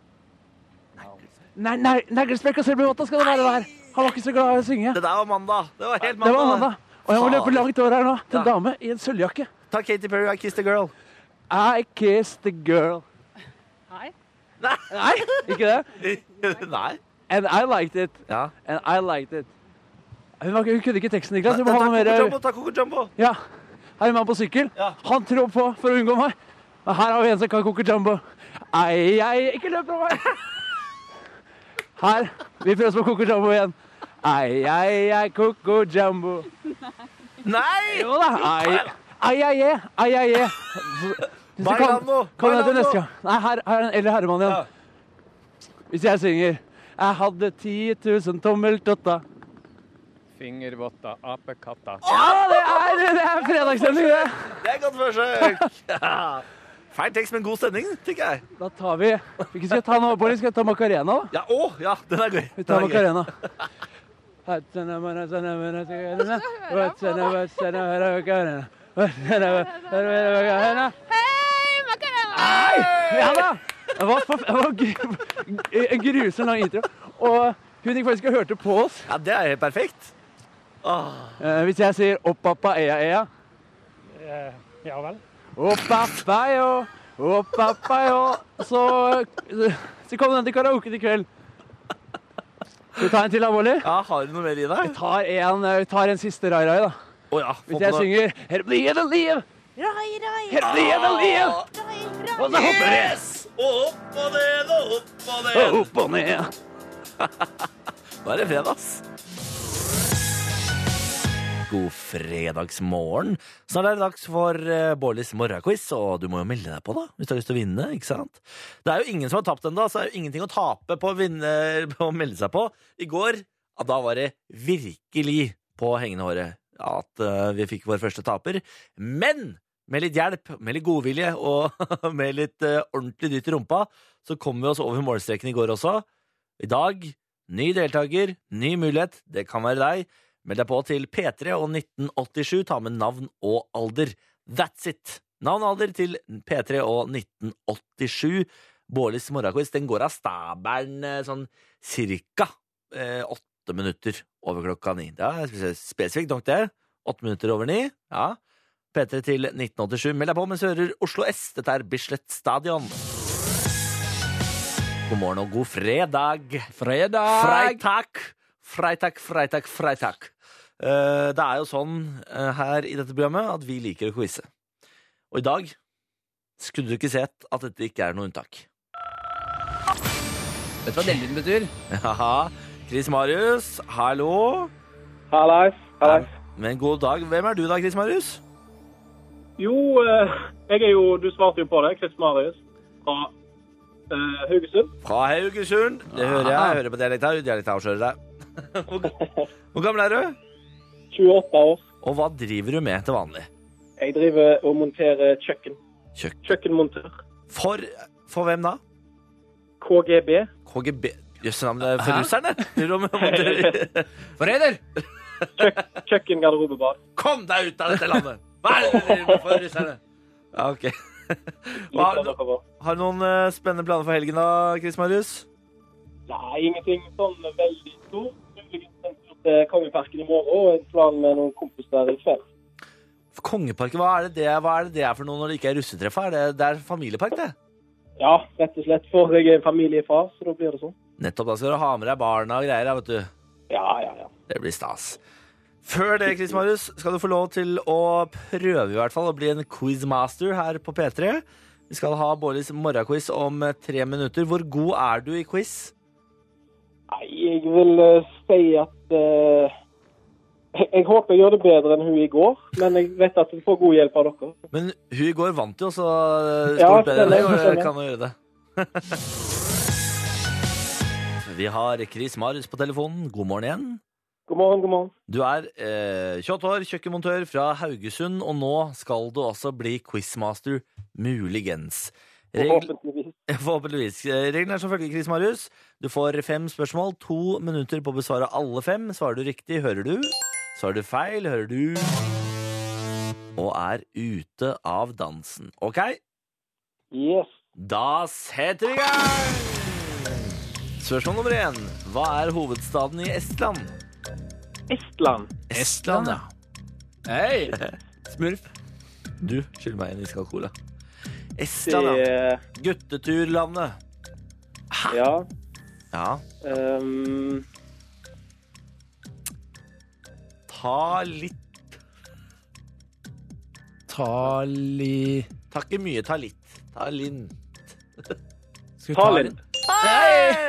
Speaker 6: Nei, nei, neglespekk og silbervotta skal det være der. Han var ikke så glad i å synge.
Speaker 1: Det der var mandag. Det var helt
Speaker 6: Det
Speaker 1: mandag.
Speaker 6: var mandag. Og jeg må løpe langt over her nå til en
Speaker 1: Ja.
Speaker 6: dame i en sølvjakke.
Speaker 1: Ta Katy Perry, I Kissed a Girl.
Speaker 6: I kissed a girl.
Speaker 7: Nei.
Speaker 6: Nei, ikke det?
Speaker 1: [laughs] Nei.
Speaker 6: And I liked it.
Speaker 1: Ja.
Speaker 6: And I liked it. Hun, var, hun kunne ikke teksten, Niklas.
Speaker 1: Ta
Speaker 6: Hun Altså, må ha
Speaker 1: Coco
Speaker 6: noe mer
Speaker 1: Jumbo, ta Coco Jumbo.
Speaker 6: Ja. Her er en mann på sykkel.
Speaker 1: Ja.
Speaker 6: Han trår på for å unngå meg. Men her har vi en som kan koke jumbo. Ei, ei, ikke løp fra meg! Her. Vi prøver oss på Coco Jumbo igjen. Ei, ei, ei, Coco Jumbo.
Speaker 1: Nei!
Speaker 6: Jo da. Ei, ei, ei, ei, ei, ei, ei. Hvis du kan,
Speaker 1: Bailando,
Speaker 6: kan jeg til
Speaker 1: bailando.
Speaker 6: neste gang. Nei, her, her er en eldre herremann igjen. Hvis jeg synger Jeg hadde 10 000 tommeltotta.
Speaker 8: Fingervotter, apekatter.
Speaker 6: Ja, det er, det er fredagssending, det.
Speaker 1: Det er godt
Speaker 6: [laughs]
Speaker 1: forsøk. Ja. Feil tekst, men god stemning, tenker jeg.
Speaker 6: Da tar vi Hvilken skal jeg ta nå, Boris? Skal jeg ta Macarena, da?
Speaker 1: Ja, å, ja, den er gøy.
Speaker 6: Vi
Speaker 1: Den
Speaker 6: tar
Speaker 1: er gøy.
Speaker 6: Macarena. Ja
Speaker 7: Hei, Macarena!
Speaker 6: da! Det var, for, det var gru- en grusom lang intro. Og hun gikk faktisk og hørte på oss.
Speaker 1: Ja, det er helt perfekt.
Speaker 6: Eh, hvis jeg sier 'Å, pappa, ea, ea'
Speaker 8: Eh, Ja vel.
Speaker 6: Å, pappa, jo. Å, pappa, jo. Så, så kom den til karaoken i kveld. Skal vi ta en til, alvorlig?
Speaker 1: Ja, Har du noe mer i deg?
Speaker 6: Tar en, vi tar en siste rai-rai, da.
Speaker 1: Å ja. få
Speaker 6: Hvis
Speaker 1: på
Speaker 6: jeg
Speaker 1: noe.
Speaker 6: synger 'Her blir det liv',
Speaker 7: Rai, rai.
Speaker 6: her blir det liv, og så hopper vi
Speaker 1: Yes! Og opp og ned og opp og
Speaker 6: og
Speaker 1: ned. [laughs]
Speaker 6: opp og ned.
Speaker 1: Nå er det fredag, ass. God fredagsmorgen. Snart er det dags for eh, Bårlis morgenquiz, og du må jo melde deg på, da, hvis du har lyst til å vinne. ikke sant? Det er jo ingen som har tapt ennå, så det er jo ingenting å tape på å, vinne, [laughs] på å melde seg på. I går ja, da var det virkelig på hengende håret at eh, vi fikk vår første taper. Men med litt hjelp, med litt godvilje og [laughs] med litt eh, ordentlig dytt i rumpa, så kom vi oss over målstreken i går også. I dag Ny deltaker, ny mulighet, det kan være deg. Meld deg på til P3 og 1987, ta med navn og alder. That's it! Navn og alder til P3 og 1987. Bårlis morgenquiz den går av stabelen eh, sånn cirka eh, åtte minutter over klokka ni. Det er spes- spesifikt nok, det. Åtte minutter over ni. Ja. P3 til 1987. Meld deg på mens du hører Oslo S. Dette er Bislett Stadion. God morgen og god fredag.
Speaker 4: Fredag!
Speaker 1: Freitag, freitag, freitag, freitag. Eh, det er jo sånn eh, her i dette programmet at vi liker å quize. Og i dag skulle du ikke sett at dette ikke er noe unntak. [laughs]
Speaker 4: Vet du hva delvind betyr?
Speaker 1: Haha. Chris Marius, hallo.
Speaker 8: Hallais.
Speaker 1: Men god dag. Hvem er du da, Chris Marius?
Speaker 9: Jo, eh, jeg er jo Du svarte jo på det, Chris Marius fra eh, Haugesund.
Speaker 1: Fra Haugesund. Det hører jeg. Jeg hører på dialekta. Dialekta avslører deg. Hvor g- Hvor gammel er du?
Speaker 9: 28 år.
Speaker 1: Og hva driver du med til vanlig?
Speaker 9: Jeg driver og monterer kjøkken.
Speaker 1: Kjøkken.
Speaker 9: Kjøkkenmontør.
Speaker 1: For, for hvem da?
Speaker 9: KGB.
Speaker 1: KGB Jøsse navn, det er for russerne! Driver du med å montere-
Speaker 4: Forræder!
Speaker 9: Kjøkken, garderobebad.
Speaker 1: Kom deg ut av dette landet! Hva er det du driver med for russerne? Ja, OK. [laughs] Hva,
Speaker 9: Litt av det for-
Speaker 1: har du noen eh, spennende planer for helgen da, Chris Marius?
Speaker 9: Nei, ingenting sånn veldig stort. Muligens en tur til Kongeparken i morgen og en plan med noen kompiser i kveld.
Speaker 1: For Kongeparken, hva er, det det, hva er det det er for noe når det ikke er russetreff? Er det, det er familiepark, det.
Speaker 9: Ja, rett og slett. For jeg er en familiefar, så da blir det sånn.
Speaker 1: Nettopp. Da skal du ha med deg barna og greier, ja, vet du.
Speaker 9: Ja, ja, ja.
Speaker 1: Det blir stas. Før det, Chris Marius, skal du få lov til å prøve i hvert fall å bli en quizmaster her på P3. Vi skal ha Bårdis morgenquiz om tre minutter. Hvor god er du i quiz?
Speaker 9: Nei, jeg vil eh, si at eh, [laughs] jeg, jeg håper jeg gjør det bedre enn hun i går, men jeg vet at jeg får god hjelp av dere.
Speaker 1: Men hun i går vant jo, så eh,
Speaker 9: Ja,
Speaker 1: stort bedre enn deg og
Speaker 9: stemmer, stemmer.
Speaker 1: kan jo gjøre det. [laughs] Vi har Chris Marius på telefonen. God morgen igjen.
Speaker 9: God morgen, god morgen.
Speaker 1: Du er eh, 28 år, kjøkkenmontør fra Haugesund, og nå skal du også bli quizmaster, muligens. Regel,
Speaker 9: Forhåpentligvis.
Speaker 1: [laughs] Forhåpentligvis. Reglene er som følger, Chris Marius. Du får fem spørsmål, to minutter på å besvare alle fem. Svarer du riktig, hører du. Svarer du feil, hører du. Og er ute av dansen. OK,
Speaker 9: Yes.
Speaker 1: da setter vi i gang! Spørsmål nummer én. Hå er hovedstaden i Estland?
Speaker 9: Estland.
Speaker 1: Estland, ja.
Speaker 4: Hei! Smurf.
Speaker 1: Du, skyld meg en iskald cola.
Speaker 9: Det
Speaker 1: Estland, ja. Gutteturlandet.
Speaker 9: eh, Ja.
Speaker 1: Ja.
Speaker 9: ehm,
Speaker 1: Ta litt
Speaker 4: Tali...
Speaker 1: Ta ikke mye, ta litt. Ta linn.
Speaker 4: Skal vi ta
Speaker 9: Tallinn.
Speaker 4: den?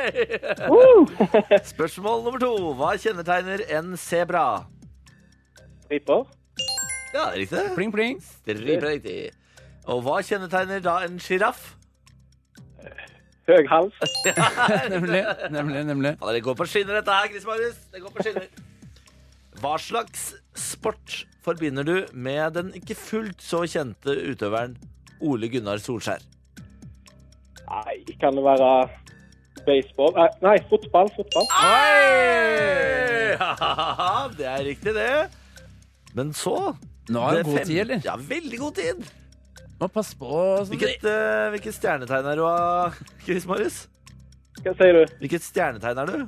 Speaker 1: [laughs] Spørsmål nummer to. Hva kjennetegner en sebra?
Speaker 9: Striper.
Speaker 1: Ja, det er riktig.
Speaker 4: Pling, pling.
Speaker 1: Stripe er riktig. Og hva kjennetegner da en sjiraff?
Speaker 9: Høy hals.
Speaker 4: Nemlig, nemlig, nemlig.
Speaker 1: Ja, det går på skinner, dette her, Chris Marius. Det går på skinner. Hva slags sport forbinder du med den ikke fullt så kjente utøveren Ole Gunnar Solskjær?
Speaker 9: Nei, kan det være baseball? Nei, nei fotball. Fotball.
Speaker 1: Oi! [laughs] Det er riktig, det. Men så
Speaker 4: Nå har
Speaker 1: det
Speaker 4: han god
Speaker 1: fem-
Speaker 4: tid, eller?
Speaker 1: Ja, veldig god tid.
Speaker 4: Må passe på. Sånn.
Speaker 1: Hvilket, eh, hvilket stjernetegn er du av, Chris Marius?
Speaker 9: Hva sier du?
Speaker 1: Hvilket stjernetegn er du?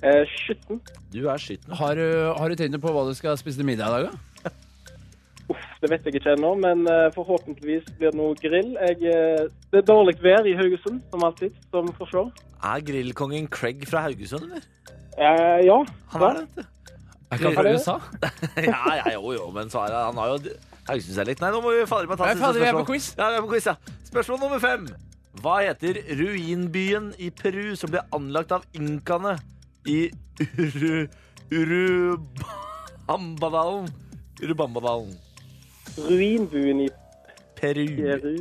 Speaker 9: Eh, Skytten.
Speaker 1: Du er skytten.
Speaker 4: Har du, har du tegnet på hva du skal spise til middag i dag, da?
Speaker 9: Uff, det vet jeg ikke ennå, men eh, forhåpentligvis blir det noe grill. Jeg, eh, det er dårlig vær i Haugesund, som alltid, som får se.
Speaker 1: Er grillkongen Craig fra Haugesund, eller?
Speaker 9: Eh, ja.
Speaker 1: Han er det, vet du. [laughs]
Speaker 4: Er ikke han
Speaker 9: Er
Speaker 4: fra
Speaker 9: det-
Speaker 4: USA?
Speaker 1: Ja, ja, jo, jo, men så er det, han har jo Haugesund-dialekt. Nei, nå må vi fader meg ta
Speaker 4: Nei,
Speaker 1: siste
Speaker 4: fader, vi er på
Speaker 1: spørsmål.
Speaker 4: quiz.
Speaker 1: Ja, vi er på quiz, ja. Spørsmål nummer fem. Hva heter ruinbyen i Peru som ble anlagt av inkaene i Uru... Urubambadalen? Urubambadalen.
Speaker 9: Ruinbuen i
Speaker 1: Peru.
Speaker 9: Peru.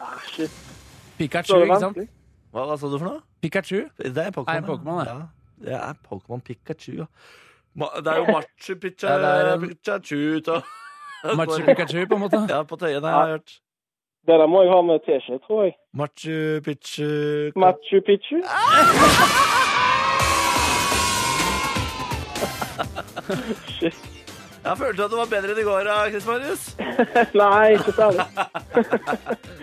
Speaker 9: Ah, shit.
Speaker 4: Pikachu,
Speaker 9: Så er det
Speaker 4: ikke sant?
Speaker 9: vanskelig.
Speaker 1: Hva, hva sa du for noe?
Speaker 4: Pikachu.
Speaker 1: Det er Pokémon.
Speaker 4: Er det Pokémon,
Speaker 1: ja.
Speaker 4: ja?
Speaker 1: Det er Pokémon Pikachu, ja. Ma-
Speaker 4: [laughs]
Speaker 1: Det er jo Machu Picchu
Speaker 4: Ja, det er en-
Speaker 1: Pikachu ut [laughs] og
Speaker 4: Machu Pikachu, på en måte.
Speaker 1: Ja, på tøyene har jeg hørt.
Speaker 9: Det der må jeg ha med teskje, tror jeg.
Speaker 1: Machu Picchu
Speaker 9: Machu Picchu. Shit.
Speaker 1: Jeg følte at det var bedre enn i går, da, Chris Marius.
Speaker 9: Nei, ikke særlig.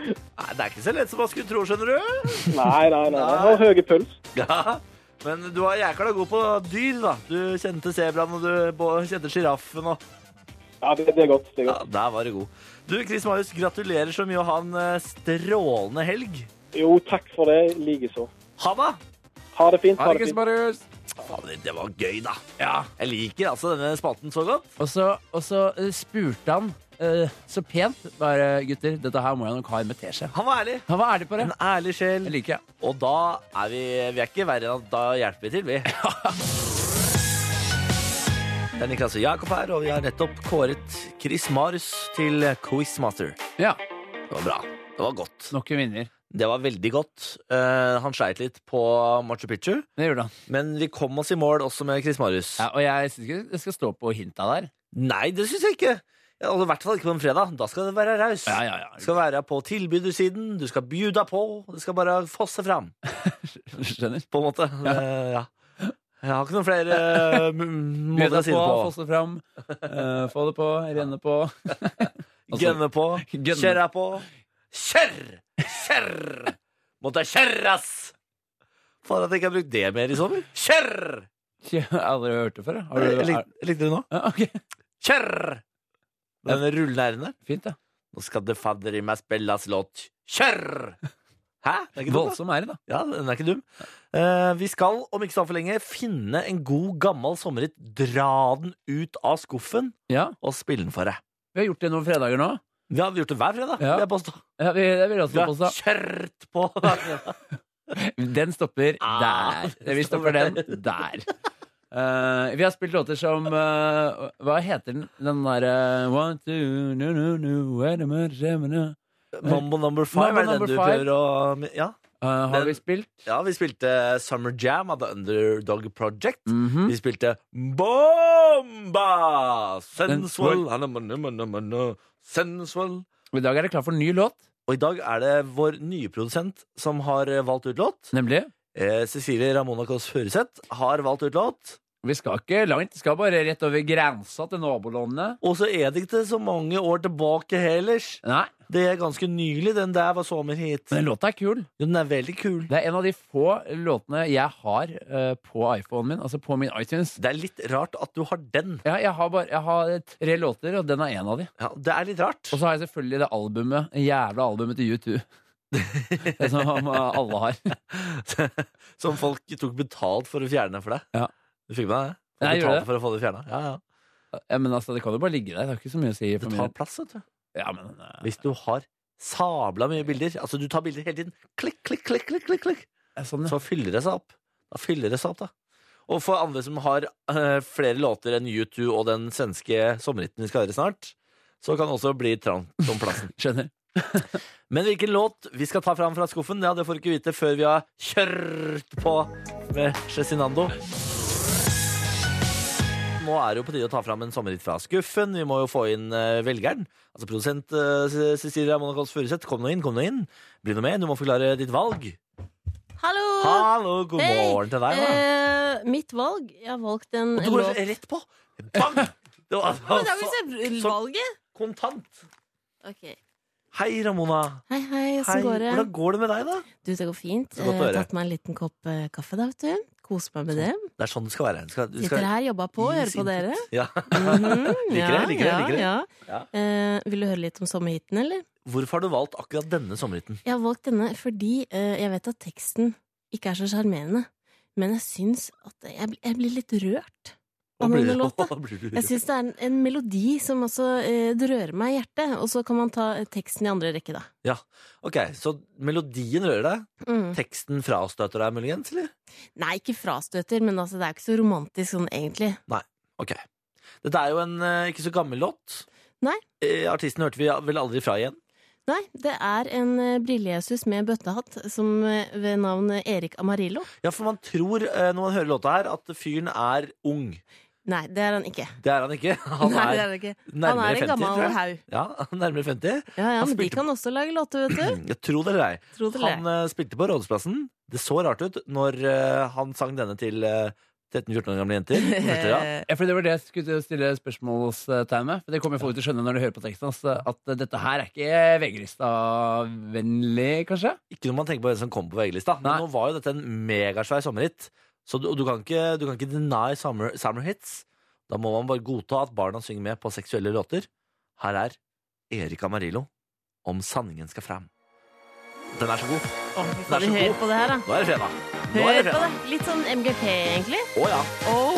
Speaker 1: Nei, det er ikke så lett som man skulle tro, skjønner du. [laughs]
Speaker 9: Nei, nei, nei. Jeg har høy puls.
Speaker 1: Ja. Men du er jækla god på dyr, da. Du kjente sebraen, og du bo- kjente sjiraffen og
Speaker 9: Ja, det, det er godt. Det er
Speaker 1: Ja,
Speaker 9: godt.
Speaker 1: der var du god. Du, Chris Marius, gratulerer så mye, og ha en eh, strålende helg.
Speaker 9: Jo, takk for det. Likeså.
Speaker 1: Ha det!
Speaker 9: Ha det fint.
Speaker 4: Ha det,
Speaker 9: Ha det
Speaker 4: Chris
Speaker 9: fint.
Speaker 4: Marius.
Speaker 1: Fader, det var gøy, da. Jeg liker altså denne spalten så godt.
Speaker 4: Og så, og så eh, spurte han eh, så pent bare, gutter, dette her må jeg nok ha en med teskje.
Speaker 1: Han var ærlig.
Speaker 4: Han var ærlig på det.
Speaker 1: En ærlig sjel.
Speaker 4: Jeg liker det.
Speaker 1: Og da
Speaker 4: [laughs]
Speaker 1: er vi Vi er ikke verre enn at da hjelper vi til, vi. Det er Niklas og Jakob her, og vi har nettopp kåret Chris Marius til Quizmaster.
Speaker 4: Ja.
Speaker 1: Det var bra. Det var godt.
Speaker 4: Nok en vinner.
Speaker 1: Det var veldig godt. Eh, han sleit litt på Machu Picchu,
Speaker 4: Det gjorde han.
Speaker 1: men vi kom oss i mål også med Chris Marius.
Speaker 4: Ja, og jeg syns ikke det skal stå på hinta der.
Speaker 1: Nei, det syns jeg ikke. Ja, og I hvert fall ikke på en fredag. Da skal det være raus.
Speaker 4: Ja, ja,
Speaker 1: Du
Speaker 4: ja.
Speaker 1: skal være på tilbydersiden, du skal bjuda på, det skal bare fosse fram,
Speaker 4: Skjønner.
Speaker 1: på en måte. Ja. ja. Jeg har ikke noen flere
Speaker 4: [laughs]
Speaker 1: eh, m- måter å si det på.
Speaker 4: Fosse fram. eh, få det på, renne på. Altså-
Speaker 1: Gønne på,
Speaker 4: Gønne.
Speaker 1: kjerra på. Kjerr! Kjerr! Måtte kjerras! For at jeg ikke har brukt det mer i sommer. Kjerr!
Speaker 4: [laughs] Jeg har aldri hørt det før. jeg. Har
Speaker 1: Jeg
Speaker 4: du,
Speaker 1: lik- jeg likte det nå.
Speaker 4: Ja, ok.
Speaker 1: Kjerr! Den rullende r-en der.
Speaker 4: Fint, da.
Speaker 1: Nå skal det fadder i meg spilles låt. Kjerr! Hæ? Det er ikke dumt, da.
Speaker 4: Voldsom er det, da.
Speaker 1: Ja, den er ikke dum. Eh, vi skal om ikke så altfor lenge finne en god, gammel sommerhit, dra den ut av skuffen
Speaker 4: Ja,
Speaker 1: og spille den for deg.
Speaker 4: Vi har gjort det noen fredager nå.
Speaker 1: Vi har gjort det hver fredag.
Speaker 4: Ja.
Speaker 1: vil jeg påstå.
Speaker 4: Ja, vi, det vil jeg
Speaker 1: Vi
Speaker 4: også
Speaker 1: har
Speaker 4: påstå.
Speaker 1: kjørt på hver fredag.
Speaker 4: Den stopper
Speaker 1: Ah,
Speaker 4: [laughs] der. Vi stopper den der. Eh, vi har spilt låter som eh, Hva heter den? Den derre One, two, no, no, no, wait a minute, Gemini.
Speaker 1: Mambo number five
Speaker 4: Mambo
Speaker 1: er den
Speaker 4: number
Speaker 1: du
Speaker 4: five.
Speaker 1: prøver å ja.
Speaker 4: Eh, har
Speaker 1: Den-
Speaker 4: vi spilt?
Speaker 1: ja, vi spilte Summer Jam av The Underdog Project.
Speaker 4: Mhm.
Speaker 1: Vi spilte Bomba! Sensual Sensual
Speaker 4: I dag er det klar for en ny låt,
Speaker 1: Og i dag er det vår nye produsent som har eh, valgt ut låt.
Speaker 4: nemlig.
Speaker 1: Eh, Cecilie Ramona Kåss Furuseth har valgt ut låt.
Speaker 4: Vi skal ikke langt. Vi skal bare rett over grensa til nabolandene.
Speaker 1: Og så er det ikke så mange år tilbake heller.
Speaker 4: Nei,
Speaker 1: Det er ganske nylig. Den der var sommerhit.
Speaker 4: men låta er kul.
Speaker 1: Jo, den er veldig kul.
Speaker 4: Det er en av de få låtene jeg har eh, på iPhonen min, altså på min iTunes.
Speaker 1: Det er litt rart at du har den.
Speaker 4: Ja, jeg, har bare, jeg har tre låter, og den er en av de.
Speaker 1: Ja, det er litt rart.
Speaker 4: Og så har jeg selvfølgelig det albumet, jævla albumet
Speaker 1: [laughs]
Speaker 4: til U2. Det som eh, alle har.
Speaker 1: [laughs] Som folk tok betalt for å fjerne for deg.
Speaker 4: Ja.
Speaker 1: Du fikk med deg det? Folk
Speaker 4: Nei, jeg gjorde
Speaker 1: betalte
Speaker 4: det.
Speaker 1: for å få det fjerna. Ja, ja.
Speaker 4: Ja, men altså, det kan jo bare ligge der. Det har ikke så mye å si.
Speaker 1: Det
Speaker 4: For
Speaker 1: tar
Speaker 4: min.
Speaker 1: plass, vet du.
Speaker 4: Ja, men, eh,
Speaker 1: Hvis du har sabla mye bilder Altså, du tar bilder hele tiden. Klikk, klikk, klikk, klikk, klikk, klikk.
Speaker 4: det er sånn, ja.
Speaker 1: Så fyller det seg opp. Da fyller det seg opp, da. Og for andre som har eh, flere låter enn U2 og den svenske sommerhiten vi skal høre snart, så kan det også bli trangt om plassen. [laughs]
Speaker 4: Skjønner.
Speaker 1: Men hvilken låt vi skal ta fram fra skuffen, ja, det får du ikke vite før vi har kjørt på med Cezinando. Nå er det jo på tide å ta fram en sommerhit fra skuffen. Vi må jo få inn eh, velgeren. Altså produsent eh, Ce- Cecilia Monacos Furuseth, kom nå inn, kom nå inn. Bli nå med, du må forklare ditt valg.
Speaker 10: Hallo!
Speaker 1: Hallo, god
Speaker 10: Hei.
Speaker 1: morgen til deg. Da.
Speaker 10: Eh, mitt valg Jeg har valgt en
Speaker 1: Du går rett på. Bang! Det var
Speaker 10: Men det er
Speaker 1: altså
Speaker 10: jo
Speaker 1: så-
Speaker 10: ikke valget!
Speaker 1: kontant.
Speaker 10: Ok.
Speaker 1: Hei, Ramona.
Speaker 10: Hei, hei,
Speaker 1: Hei.
Speaker 10: åssen går det?
Speaker 1: Hvordan går det med deg, da?
Speaker 10: Du, det går fint.
Speaker 1: Så godt å
Speaker 10: Eh, Jeg har
Speaker 1: høre.
Speaker 10: tatt meg en liten kopp eh, kaffe, da, vet du. Koser meg med det.
Speaker 1: Det er sånn det skal være. Du skal, du
Speaker 10: Sitter
Speaker 1: skal...
Speaker 10: her, jobba på, hører
Speaker 1: Gis
Speaker 10: på dere.
Speaker 1: input. Ja.
Speaker 10: Mhm,
Speaker 1: [laughs] Liker det,
Speaker 10: ja,
Speaker 1: liker det,
Speaker 10: ja,
Speaker 1: liker det.
Speaker 10: ja.
Speaker 1: Ja.
Speaker 10: Eh, vil du høre litt om sommerhiten, eller?
Speaker 1: Hvorfor har du valgt akkurat denne sommerhytten?
Speaker 10: Jeg har valgt denne fordi eh, jeg vet at teksten ikke er så sjarmerende. Men jeg syns at jeg, bl- jeg blir litt rørt av denne
Speaker 1: [laughs]
Speaker 10: låta. Jeg syns det er en, en melodi som altså eh, det rører meg i hjertet, og så kan man ta eh, teksten i andre rekke, da.
Speaker 1: Ok, Så melodien rører deg,
Speaker 10: Mm.
Speaker 1: teksten frastøter deg muligens, eller?
Speaker 10: Nei, ikke frastøter, men altså, det er ikke så romantisk sånn egentlig.
Speaker 1: Ok. Dette er jo en eh, ikke så gammel låt.
Speaker 10: Nei.
Speaker 1: Eh, artisten hørte vi vel aldri fra igjen.
Speaker 10: Nei, det er en eh, brillejesus med bøttehatt som eh, ved navn eh, Erik Amarillo.
Speaker 1: Ja, for man tror eh, når man hører låta her, at fyren er ung.
Speaker 10: Nei, det er han ikke.
Speaker 1: Det er han ikke. [laughs] Han
Speaker 10: Nei, det
Speaker 1: er
Speaker 10: er han ikke. Han
Speaker 1: nærmere
Speaker 10: er en
Speaker 1: 50, tror
Speaker 10: gammel
Speaker 1: jeg.
Speaker 10: haug.
Speaker 1: Ja, [laughs] han er nærmere 50.
Speaker 10: Ja, ja,
Speaker 1: Han
Speaker 10: men de
Speaker 1: spilte-
Speaker 10: kan også lage låter, vet du.
Speaker 1: Jeg tror det eller ei.
Speaker 10: Tro det eller
Speaker 1: Han eh, spilte på Rådhusplassen. Det så rart ut når eh, han sang denne til eh, 13-14 år gamle jenter. [laughs] Hørte dere det?
Speaker 10: ei.
Speaker 4: Ja, for det var det jeg skulle stille spørsmålstegn med. For det kommer folk til å skjønne når de hører på teksten. Altså, at dette her er ikke VG-lista-vennlig, kanskje?
Speaker 1: Ikke når man tenker på hvem som kom på VG-lista. Men
Speaker 4: Nei.
Speaker 1: nå var jo dette en megasvær sommerhit, så du, og du, kan ikke, du kan ikke deny summer, summer hits. Da må man bare godta at barna synger med på seksuelle låter. Her er Erik Amarillo om sanningen skal fram. Den er så god.
Speaker 10: Åh, fy
Speaker 1: Den er
Speaker 10: faen,
Speaker 1: så
Speaker 10: Hør
Speaker 1: god.
Speaker 10: på det her, da.
Speaker 1: Nå er det fredag. Nå er det
Speaker 10: Hør på
Speaker 1: fredag.
Speaker 10: det. Litt sånn MGP, egentlig.
Speaker 1: Å ja.
Speaker 10: Oh.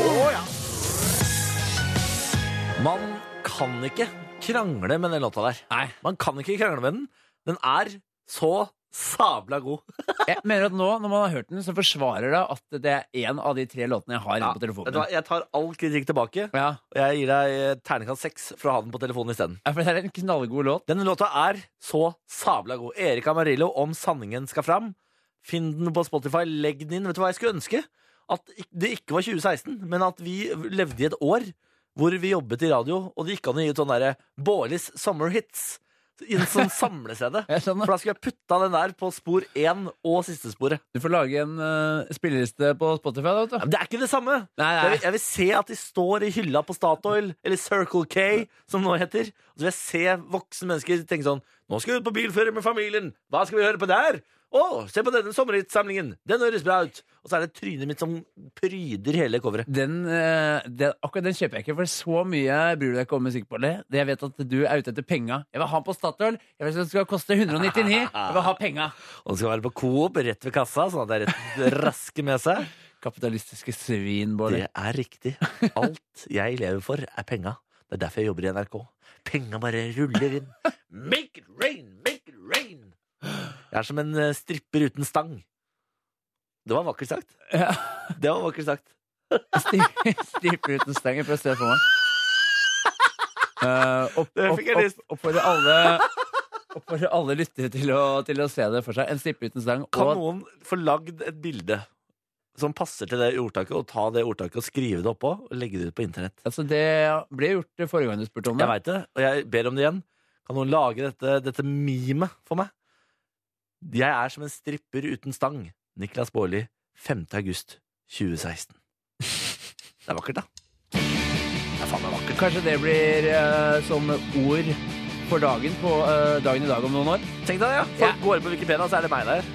Speaker 1: Man kan ikke krangle med den låta der.
Speaker 4: Nei.
Speaker 1: Man kan ikke krangle med den. Den er så sabla god.
Speaker 4: Jeg mener at nå, når man har hørt den, så forsvarer det at det er en av de tre låtene jeg har inne på
Speaker 1: Vet du hva,
Speaker 4: telefonen.
Speaker 1: jeg tar all kritikk tilbake,
Speaker 4: Ja.
Speaker 1: og jeg gir deg eh, terningkast seks for å ha den på telefonen isteden.
Speaker 4: Ja, for det er en knallgod låt.
Speaker 1: Denne låta er så sabla god. Erik Amarillo, Om sanningen skal fram. Finn den på Spotify, legg den inn. Vet du hva jeg skulle ønske? At ik- det ikke var 2016, men at vi levde i et år hvor vi jobbet i radio, og det gikk an å gi ut sånne derre Bårlis summer hits. I en
Speaker 4: [laughs]
Speaker 1: sånn samlesede.
Speaker 4: Jeg skjønner.
Speaker 1: For da skulle jeg putta den der på spor én og siste sporet.
Speaker 4: Du får lage en uh, spilleliste på Spotify,
Speaker 1: Ja,
Speaker 4: da, vet du.
Speaker 1: men det er ikke det samme!
Speaker 4: Nei,
Speaker 1: Jeg
Speaker 4: nei.
Speaker 1: vil, jeg vil se at de står i hylla på Statoil, eller Circle K, som det nå heter. Og så vil jeg se voksne mennesker tenke sånn Nå skal vi ut på bilferie med familien! Hva skal vi høre på der? Å, se på denne sommerhitssamlingen! Den høres bra ut! Og så er det trynet mitt som pryder hele coveret.
Speaker 4: Den, eh, den, akkurat den kjøper jeg ikke, for så mye bryr du deg ikke om musikk på det. Det Jeg vet at du er ute etter penga. Jeg vil ha den på Statoil. Jeg vil at den skal koste 199. Jeg vil ha penga.
Speaker 1: Og det skal være på Coop rett ved kassa, sånn at det er rett raske med seg.
Speaker 4: Kapitalistiske svin,
Speaker 1: Det
Speaker 4: [laughs] Bård.
Speaker 1: er riktig. Alt jeg lever for, er penga. Det er derfor jeg jobber i NRK. Penga bare ruller inn. Make it rain, make it rain! Jeg er som en eh, stripper uten stang. Det var vakkert sagt.
Speaker 4: Ja.
Speaker 1: Det var vakkert sagt.
Speaker 4: Striper uten stenger for å se for meg. Eh, opp,
Speaker 1: Det
Speaker 4: opp,
Speaker 1: fikk jeg lyst.
Speaker 4: opp, oppfordrer alle Oppfordrer alle lyttere til å, til å se det for seg. En strippe uten stang.
Speaker 1: Kan
Speaker 4: Og
Speaker 1: noen få lagd et bilde som passer til det ordtaket, og ta det ordtaket og skrive det oppå og legge det ut på internett?
Speaker 4: altså, det ble gjort forrige gang du spurte om det.
Speaker 1: Jeg veit det, og jeg ber om det igjen. Kan noen lage dette, dette memet for meg? Jeg er som en stripper uten stang. Niklas Baarli, 5. august 2016. Det er vakkert, da. Det sånn er faen meg vakkert.
Speaker 4: Kanskje det blir eh, som ord for dagen på eh, dagen i dag om noen år.
Speaker 1: Tenk deg det, ja. Folk
Speaker 4: Ja.
Speaker 1: går inn på Wikipedia, så er det meg der.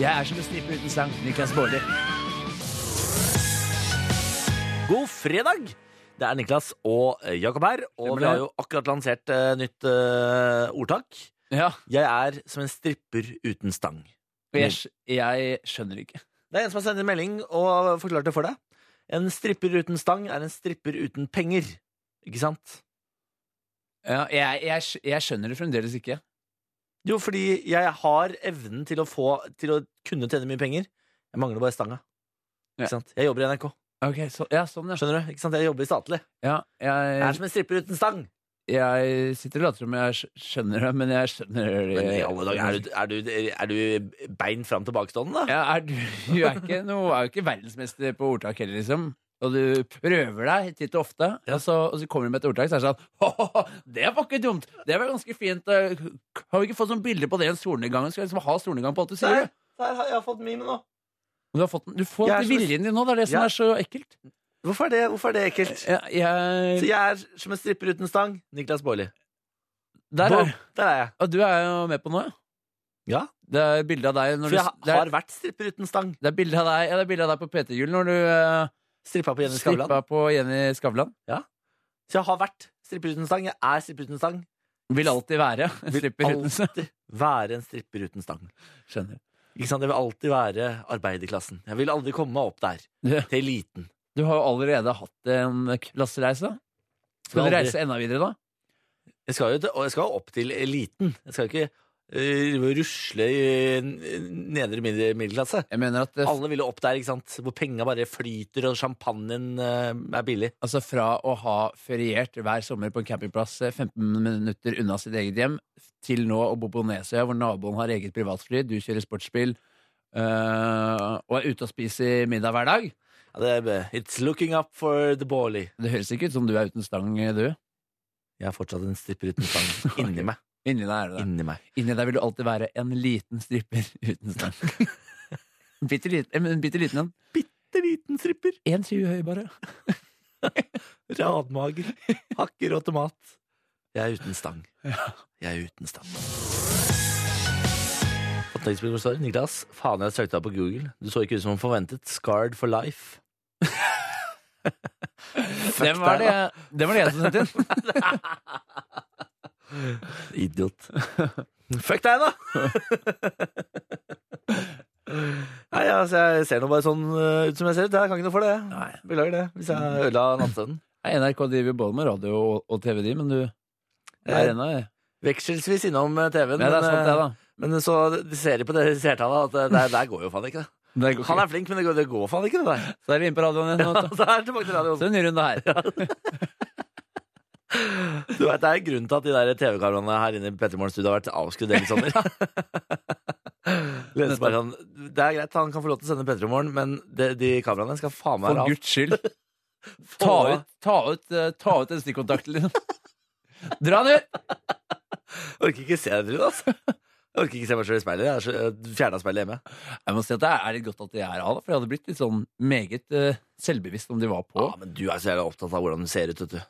Speaker 4: Jeg er som en strippe uten stang. Niklas Baarli.
Speaker 1: God fredag! Det er Niklas og eh, Jakob her, og
Speaker 4: Stemmer
Speaker 1: vi har
Speaker 4: det.
Speaker 1: jo akkurat lansert eh, nytt eh, ordtak.
Speaker 4: Ja.
Speaker 1: Jeg er som en stripper uten stang.
Speaker 4: Og jeg, skj- jeg skjønner ikke.
Speaker 1: Det er en som har sendt en melding og forklart det for deg. En stripper uten stang er en stripper uten penger. Ikke sant?
Speaker 4: Ja, jeg, jeg, skj- jeg skjønner det fremdeles ikke.
Speaker 1: Jo, fordi jeg har evnen til å få Til å kunne tjene mye penger. Jeg mangler bare stanga.
Speaker 4: Ja.
Speaker 1: Ikke sant? Jeg jobber i NRK.
Speaker 4: Ok, så, ja, sånn, ja.
Speaker 1: Skjønner du? Ikke sant? Jeg jobber i statlig.
Speaker 4: ja jeg,
Speaker 1: Jeg er som en stripper uten stang.
Speaker 4: Jeg sitter og later som jeg skj- skjønner det, men jeg skjønner det
Speaker 1: Men i alle dager, er du, er du, er du bein fram tilbakestående, da?
Speaker 4: ja, er du, du er ikke, noe, er jo ikke verdensmester på ordtak heller, liksom. Og du prøver deg titt og ofte, og, så, og så kommer du med et ordtak, så er det sånn «Hahaha, Det var ikke dumt! Det var ganske fint. eh, Har vi ikke fått sånn bilde på det en solnedgang? Skal jeg liksom ha solnedgang på alt du sier?
Speaker 1: Der,
Speaker 4: du?
Speaker 1: der har jeg fått mime nå.
Speaker 4: Men Du, har fått, den- du får
Speaker 1: Jeg er
Speaker 4: ikke
Speaker 1: så-
Speaker 4: viljen din nå, det er det som
Speaker 1: Ja.
Speaker 4: er så ekkelt.
Speaker 1: Hvorfor er det, hvorfor er det ekkelt?
Speaker 4: Ja,
Speaker 1: Så
Speaker 4: jeg,
Speaker 1: jeg er som en stripper uten stang. Niklas Baarli.
Speaker 4: der
Speaker 1: Boom,
Speaker 4: er,
Speaker 1: der er jeg.
Speaker 4: og du er jo med på noe,
Speaker 1: Ja,
Speaker 4: Det er bilde av deg når
Speaker 1: For
Speaker 4: du
Speaker 1: jeg
Speaker 4: det er-
Speaker 1: har vært stripper uten stang.
Speaker 4: Det er bilde av deg, ja, det er bilde av deg på PT-hjul når du eh,
Speaker 1: Strippa på Jenny Skavlan.
Speaker 4: Strippa på Jenny Skavlan.
Speaker 1: Så jeg har vært stripper uten stang. Jeg er stripper uten stang.
Speaker 4: Vil alltid være en [laughs]
Speaker 1: Vil
Speaker 4: stripper uten seg.
Speaker 1: alltid være en stripper uten stang.
Speaker 4: Skjønner.
Speaker 1: Ikke sant? Jeg vil alltid være arbeiderklassen. Jeg vil aldri komme meg opp der.
Speaker 4: Ja.
Speaker 1: Til eliten.
Speaker 4: Du har jo allerede hatt en klassereise.
Speaker 1: Jeg
Speaker 4: Skal du
Speaker 1: aldri-
Speaker 4: reise enda videre, da?
Speaker 1: Jeg skal jo til, og jeg skal jo opp til eliten. Jeg skal jo ikke eh, rusle i eh, nedre midde- middelklasse.
Speaker 4: Jeg mener at eh,
Speaker 1: Alle vil jo opp der, ikke sant? hvor penga bare flyter og champagnen eh, er billig.
Speaker 4: altså fra å ha feriert hver sommer på en campingplass eh, 15 minutter unna sitt eget hjem, til nå å bo på Nesøya, hvor naboen har eget privatfly, du kjører sportsbil eh, og er ute og spiser middag hver dag
Speaker 1: Ja, det er, it's looking up for the Baarli.
Speaker 4: Det høres ikke ut som du er uten stang, eh, du.
Speaker 1: Jeg er fortsatt en stripper uten
Speaker 4: [laughs]
Speaker 1: stang. Inni meg.
Speaker 4: Inni deg er det det.
Speaker 1: Inni meg.
Speaker 4: Inni deg vil du alltid være en liten stripper [laughs] uten stang. En bitte liten eh, en. Bitte liten en.
Speaker 1: Bitte liten stripper.
Speaker 4: 1,20 høy, bare.
Speaker 1: Radmager. Hakker og tomat. Jeg er uten stang. Jeg er uten stang. Fått innspill hvor det står, Niklas, faen jeg søkte deg på Google. Du så ikke ut som forventet. Scarred for [laughs] life.
Speaker 4: Den var det, den var det jeg som sendte inn.
Speaker 1: [laughs] Idiot. Fuck deg, da! [laughs] Nei, altså, jeg ser nå bare sånn eh, ut som jeg ser ut. Jeg kan ikke noe for det. Beklager det, hvis jeg ødela nattstøvnen.
Speaker 4: Nei, NRK driver jo både med radio og- og TV, de, men du er
Speaker 1: Jeg
Speaker 4: ennå
Speaker 1: Vekselvis innom eh, TV-en.
Speaker 4: Ja,
Speaker 1: men,
Speaker 4: det er sant, det,
Speaker 1: eh,
Speaker 4: da.
Speaker 1: Men så ser de på det seertallet at det, der går jo faen ikke, det. Han er flink, men det går, det går faen ikke, det der.
Speaker 4: Så er vi inne på radioen igjen. [laughs]
Speaker 1: Ja, så er det tilbake til radioen.
Speaker 4: Så en ny runde her.
Speaker 1: Du vet, Det er en grunn til at de der TV-kameraene her inne i Pettermorgen Studio har vært avskrudd hele
Speaker 4: [laughs]
Speaker 1: sommer. Lene bare sånn, Det er greit, han kan få lov til å sende Pettermorgen, men de, de kameraene skal faen meg
Speaker 4: For
Speaker 1: være av.
Speaker 4: guds skyld. [laughs] Ta ut, ta ut, eh, ta ut den stikkontakten din. [laughs] Dra den ut!
Speaker 1: Jeg orker ikke se det, Trude. Altså. Jeg orker ikke se meg sjøl i speilet. Jeg er så- fjernet speilet hjemme.
Speaker 4: Jeg må si at det er litt godt at de er av, da, for jeg hadde blitt litt sånn meget eh, selvbevisst om de var på.
Speaker 1: Ja, men du er så jævla opptatt av hvordan du ser ut, vet du.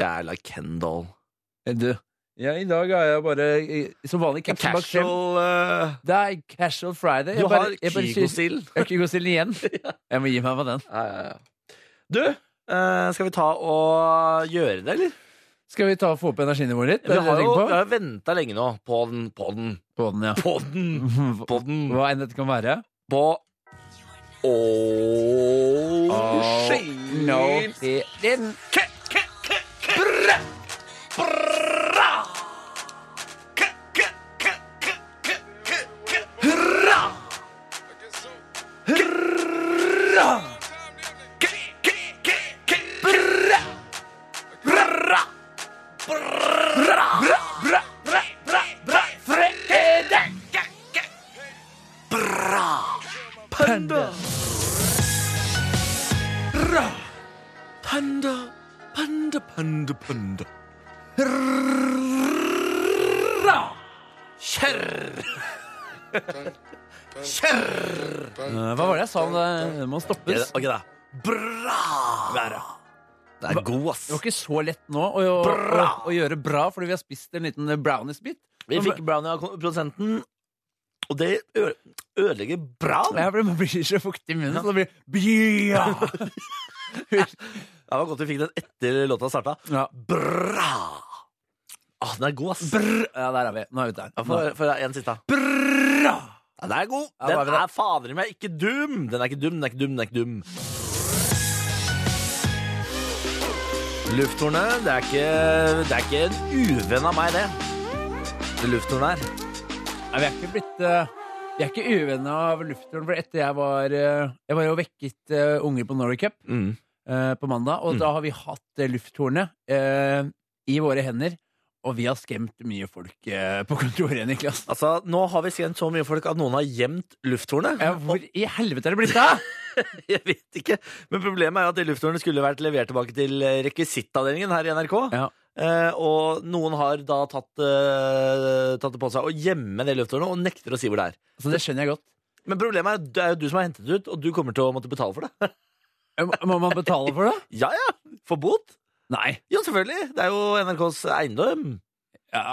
Speaker 1: Jævla Kendal.
Speaker 4: [laughs] Du, ja, i dag er jeg bare eh, som vanlig capsen bak skjerm.
Speaker 1: Casual eh,
Speaker 4: Det er casual friday.
Speaker 1: Du
Speaker 4: Jeg bare-
Speaker 1: har
Speaker 4: jeg bare synes-
Speaker 1: Kygo-stil.
Speaker 4: Jeg har Kygo-stilen [laughs] igjen. Jeg må gi meg med den.
Speaker 1: Ja, ja, ja. Du, eh, skal vi ta og gjøre det, eller?
Speaker 4: Skal vi ta og få opp energinivået litt?
Speaker 1: Vi har jo
Speaker 4: på?
Speaker 1: venta lenge nå på den, på den,
Speaker 4: på den, ja.
Speaker 1: på [laughs] den, på den,
Speaker 4: Hva enn dette kan være.
Speaker 1: på Oh, shit.
Speaker 4: no, he didn't.
Speaker 1: Panda, panda, panda, panda. [laughs] Kjerr!
Speaker 4: Eh, Hva var det jeg sa om det? Det må stoppes.
Speaker 1: Ok, da. Bra! Det er god, ass.
Speaker 4: Det var ikke så lett nå å, å, å,
Speaker 1: Bra.
Speaker 4: å gjøre bra, fordi vi har spist en liten brownies-bit.
Speaker 1: Vi fikk brownie av produsenten, og det ø- ødelegger brown.
Speaker 4: Jeg blir, man blir så fuktig i munnen, så det blir
Speaker 1: Det var godt vi fikk den etter låta starta.
Speaker 4: Ja.
Speaker 1: Bra! Ah, den er god, ass.
Speaker 4: Brr. Ja, der er vi. Nå er vi ute
Speaker 1: Ja,
Speaker 4: her.
Speaker 1: Få få høre en siste.
Speaker 4: Brr.
Speaker 1: Ja, den er god.
Speaker 4: Ja, da er vi
Speaker 1: Den
Speaker 4: der.
Speaker 1: er fader i meg ikke dum. Den er ikke dum, den er ikke dum, den er ikke dum. Lufthornet, det er ikke, det er ikke en uvenn av meg, det. Det lufthornet her.
Speaker 4: Nei, vi er ikke blitt eh, Vi er ikke uvenner av luftturen, for etter jeg var eh, Jeg var jo vekket eh, unger på Norway Cup
Speaker 1: Mm.
Speaker 4: eh, på mandag, og da har vi hatt uh, lufttornet eh, i våre hender. Og vi har skremt mye folk eh, på kontoret, Niklas.
Speaker 1: Altså, nå har vi skremt så mye folk at noen har gjemt lufthornet.
Speaker 4: Ja, hvor i helvete er det blitt av?!
Speaker 1: [laughs] Jeg vet ikke. Men problemet er jo at det lufthornet skulle vært levert tilbake til eh, rekvisittavdelingen her i NRK.
Speaker 4: Ja.
Speaker 1: Eh, og noen har da tatt, eh, tatt det på seg å gjemme det lufthornet og nekter å si hvor det er.
Speaker 4: Så det skjønner jeg godt.
Speaker 1: Men problemet er at det er jo du som har hentet det ut, og du kommer til å måtte betale for det. [laughs]
Speaker 4: Eh, Må man betale for det?
Speaker 1: Ja, ja. For bot?
Speaker 4: Nei.
Speaker 1: Jo, selvfølgelig. Det er jo NRKs eiendom.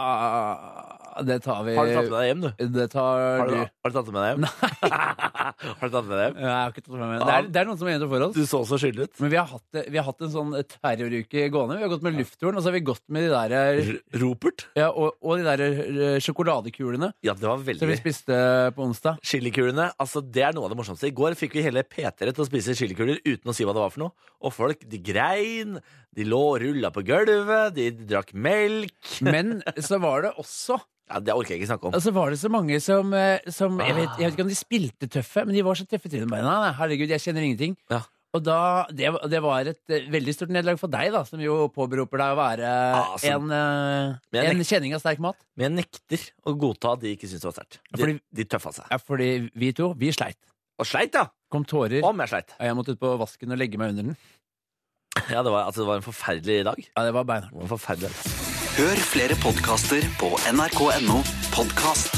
Speaker 4: Ja, det tar vi
Speaker 1: Har du tatt med deg hjem, du?
Speaker 4: Det tar
Speaker 1: Har du,
Speaker 4: Eh, du.
Speaker 1: har du tatt det med deg hjem? [laughs] har du tatt det med deg hjem?
Speaker 4: Ja, jeg har ikke tatt med meg. Det er, det er noen som er inne for oss.
Speaker 1: Du så så skyldig ut.
Speaker 4: Men vi har, hatt, det- vi har hatt en sånn terroruke gående. Vi har gått med lufttorn, og så har vi gått med de der,
Speaker 1: R Ropert?
Speaker 4: ja, og, og de der eh, sjokoladekulene
Speaker 1: Ja, det var
Speaker 4: som vi
Speaker 1: veldig
Speaker 4: spiste på [laughs] onsdag.
Speaker 1: Chilikulene, altså det er noe av det morsomste. I går fikk vi hele P3 til å spise chilikuler uten å si hva det var for noe. Og folk, de grein, de lå og rulla på gulvet, de drakk melk.
Speaker 4: Men så var det også
Speaker 1: Ja, Det orker jeg ikke snakke om.
Speaker 4: altså var det så mange som, eh, som jeg, vet, jeg vet ikke om de spilte tøffe, men de var så tøffe til dem. Nei, nei, herregud, jeg kjenner ingenting.
Speaker 1: Ja.
Speaker 4: Og da, det, var- det var et eh, veldig stort nederlag for deg, da, som jo påberoper deg å være
Speaker 1: Ja, altså,
Speaker 4: en, eh,
Speaker 1: men jeg
Speaker 4: en kjenning av sterk mat.
Speaker 1: Men jeg nekter å godta at de ikke syntes det var sterkt. De,
Speaker 4: Fordi-
Speaker 1: de tøffa seg.
Speaker 4: Ja, fordi vi to, vi sleit.
Speaker 1: Og sleit, ja!
Speaker 4: Kom tårer.
Speaker 1: Om jeg sleit.
Speaker 4: og Jeg måtte ut på vasken og legge meg under den.
Speaker 1: Ja, det var, altså, det var en forferdelig dag.
Speaker 4: Ja, det var beinhardt.
Speaker 1: Det var en forferdelig dag.
Speaker 3: Hør flere podkaster på nrk.no podkast.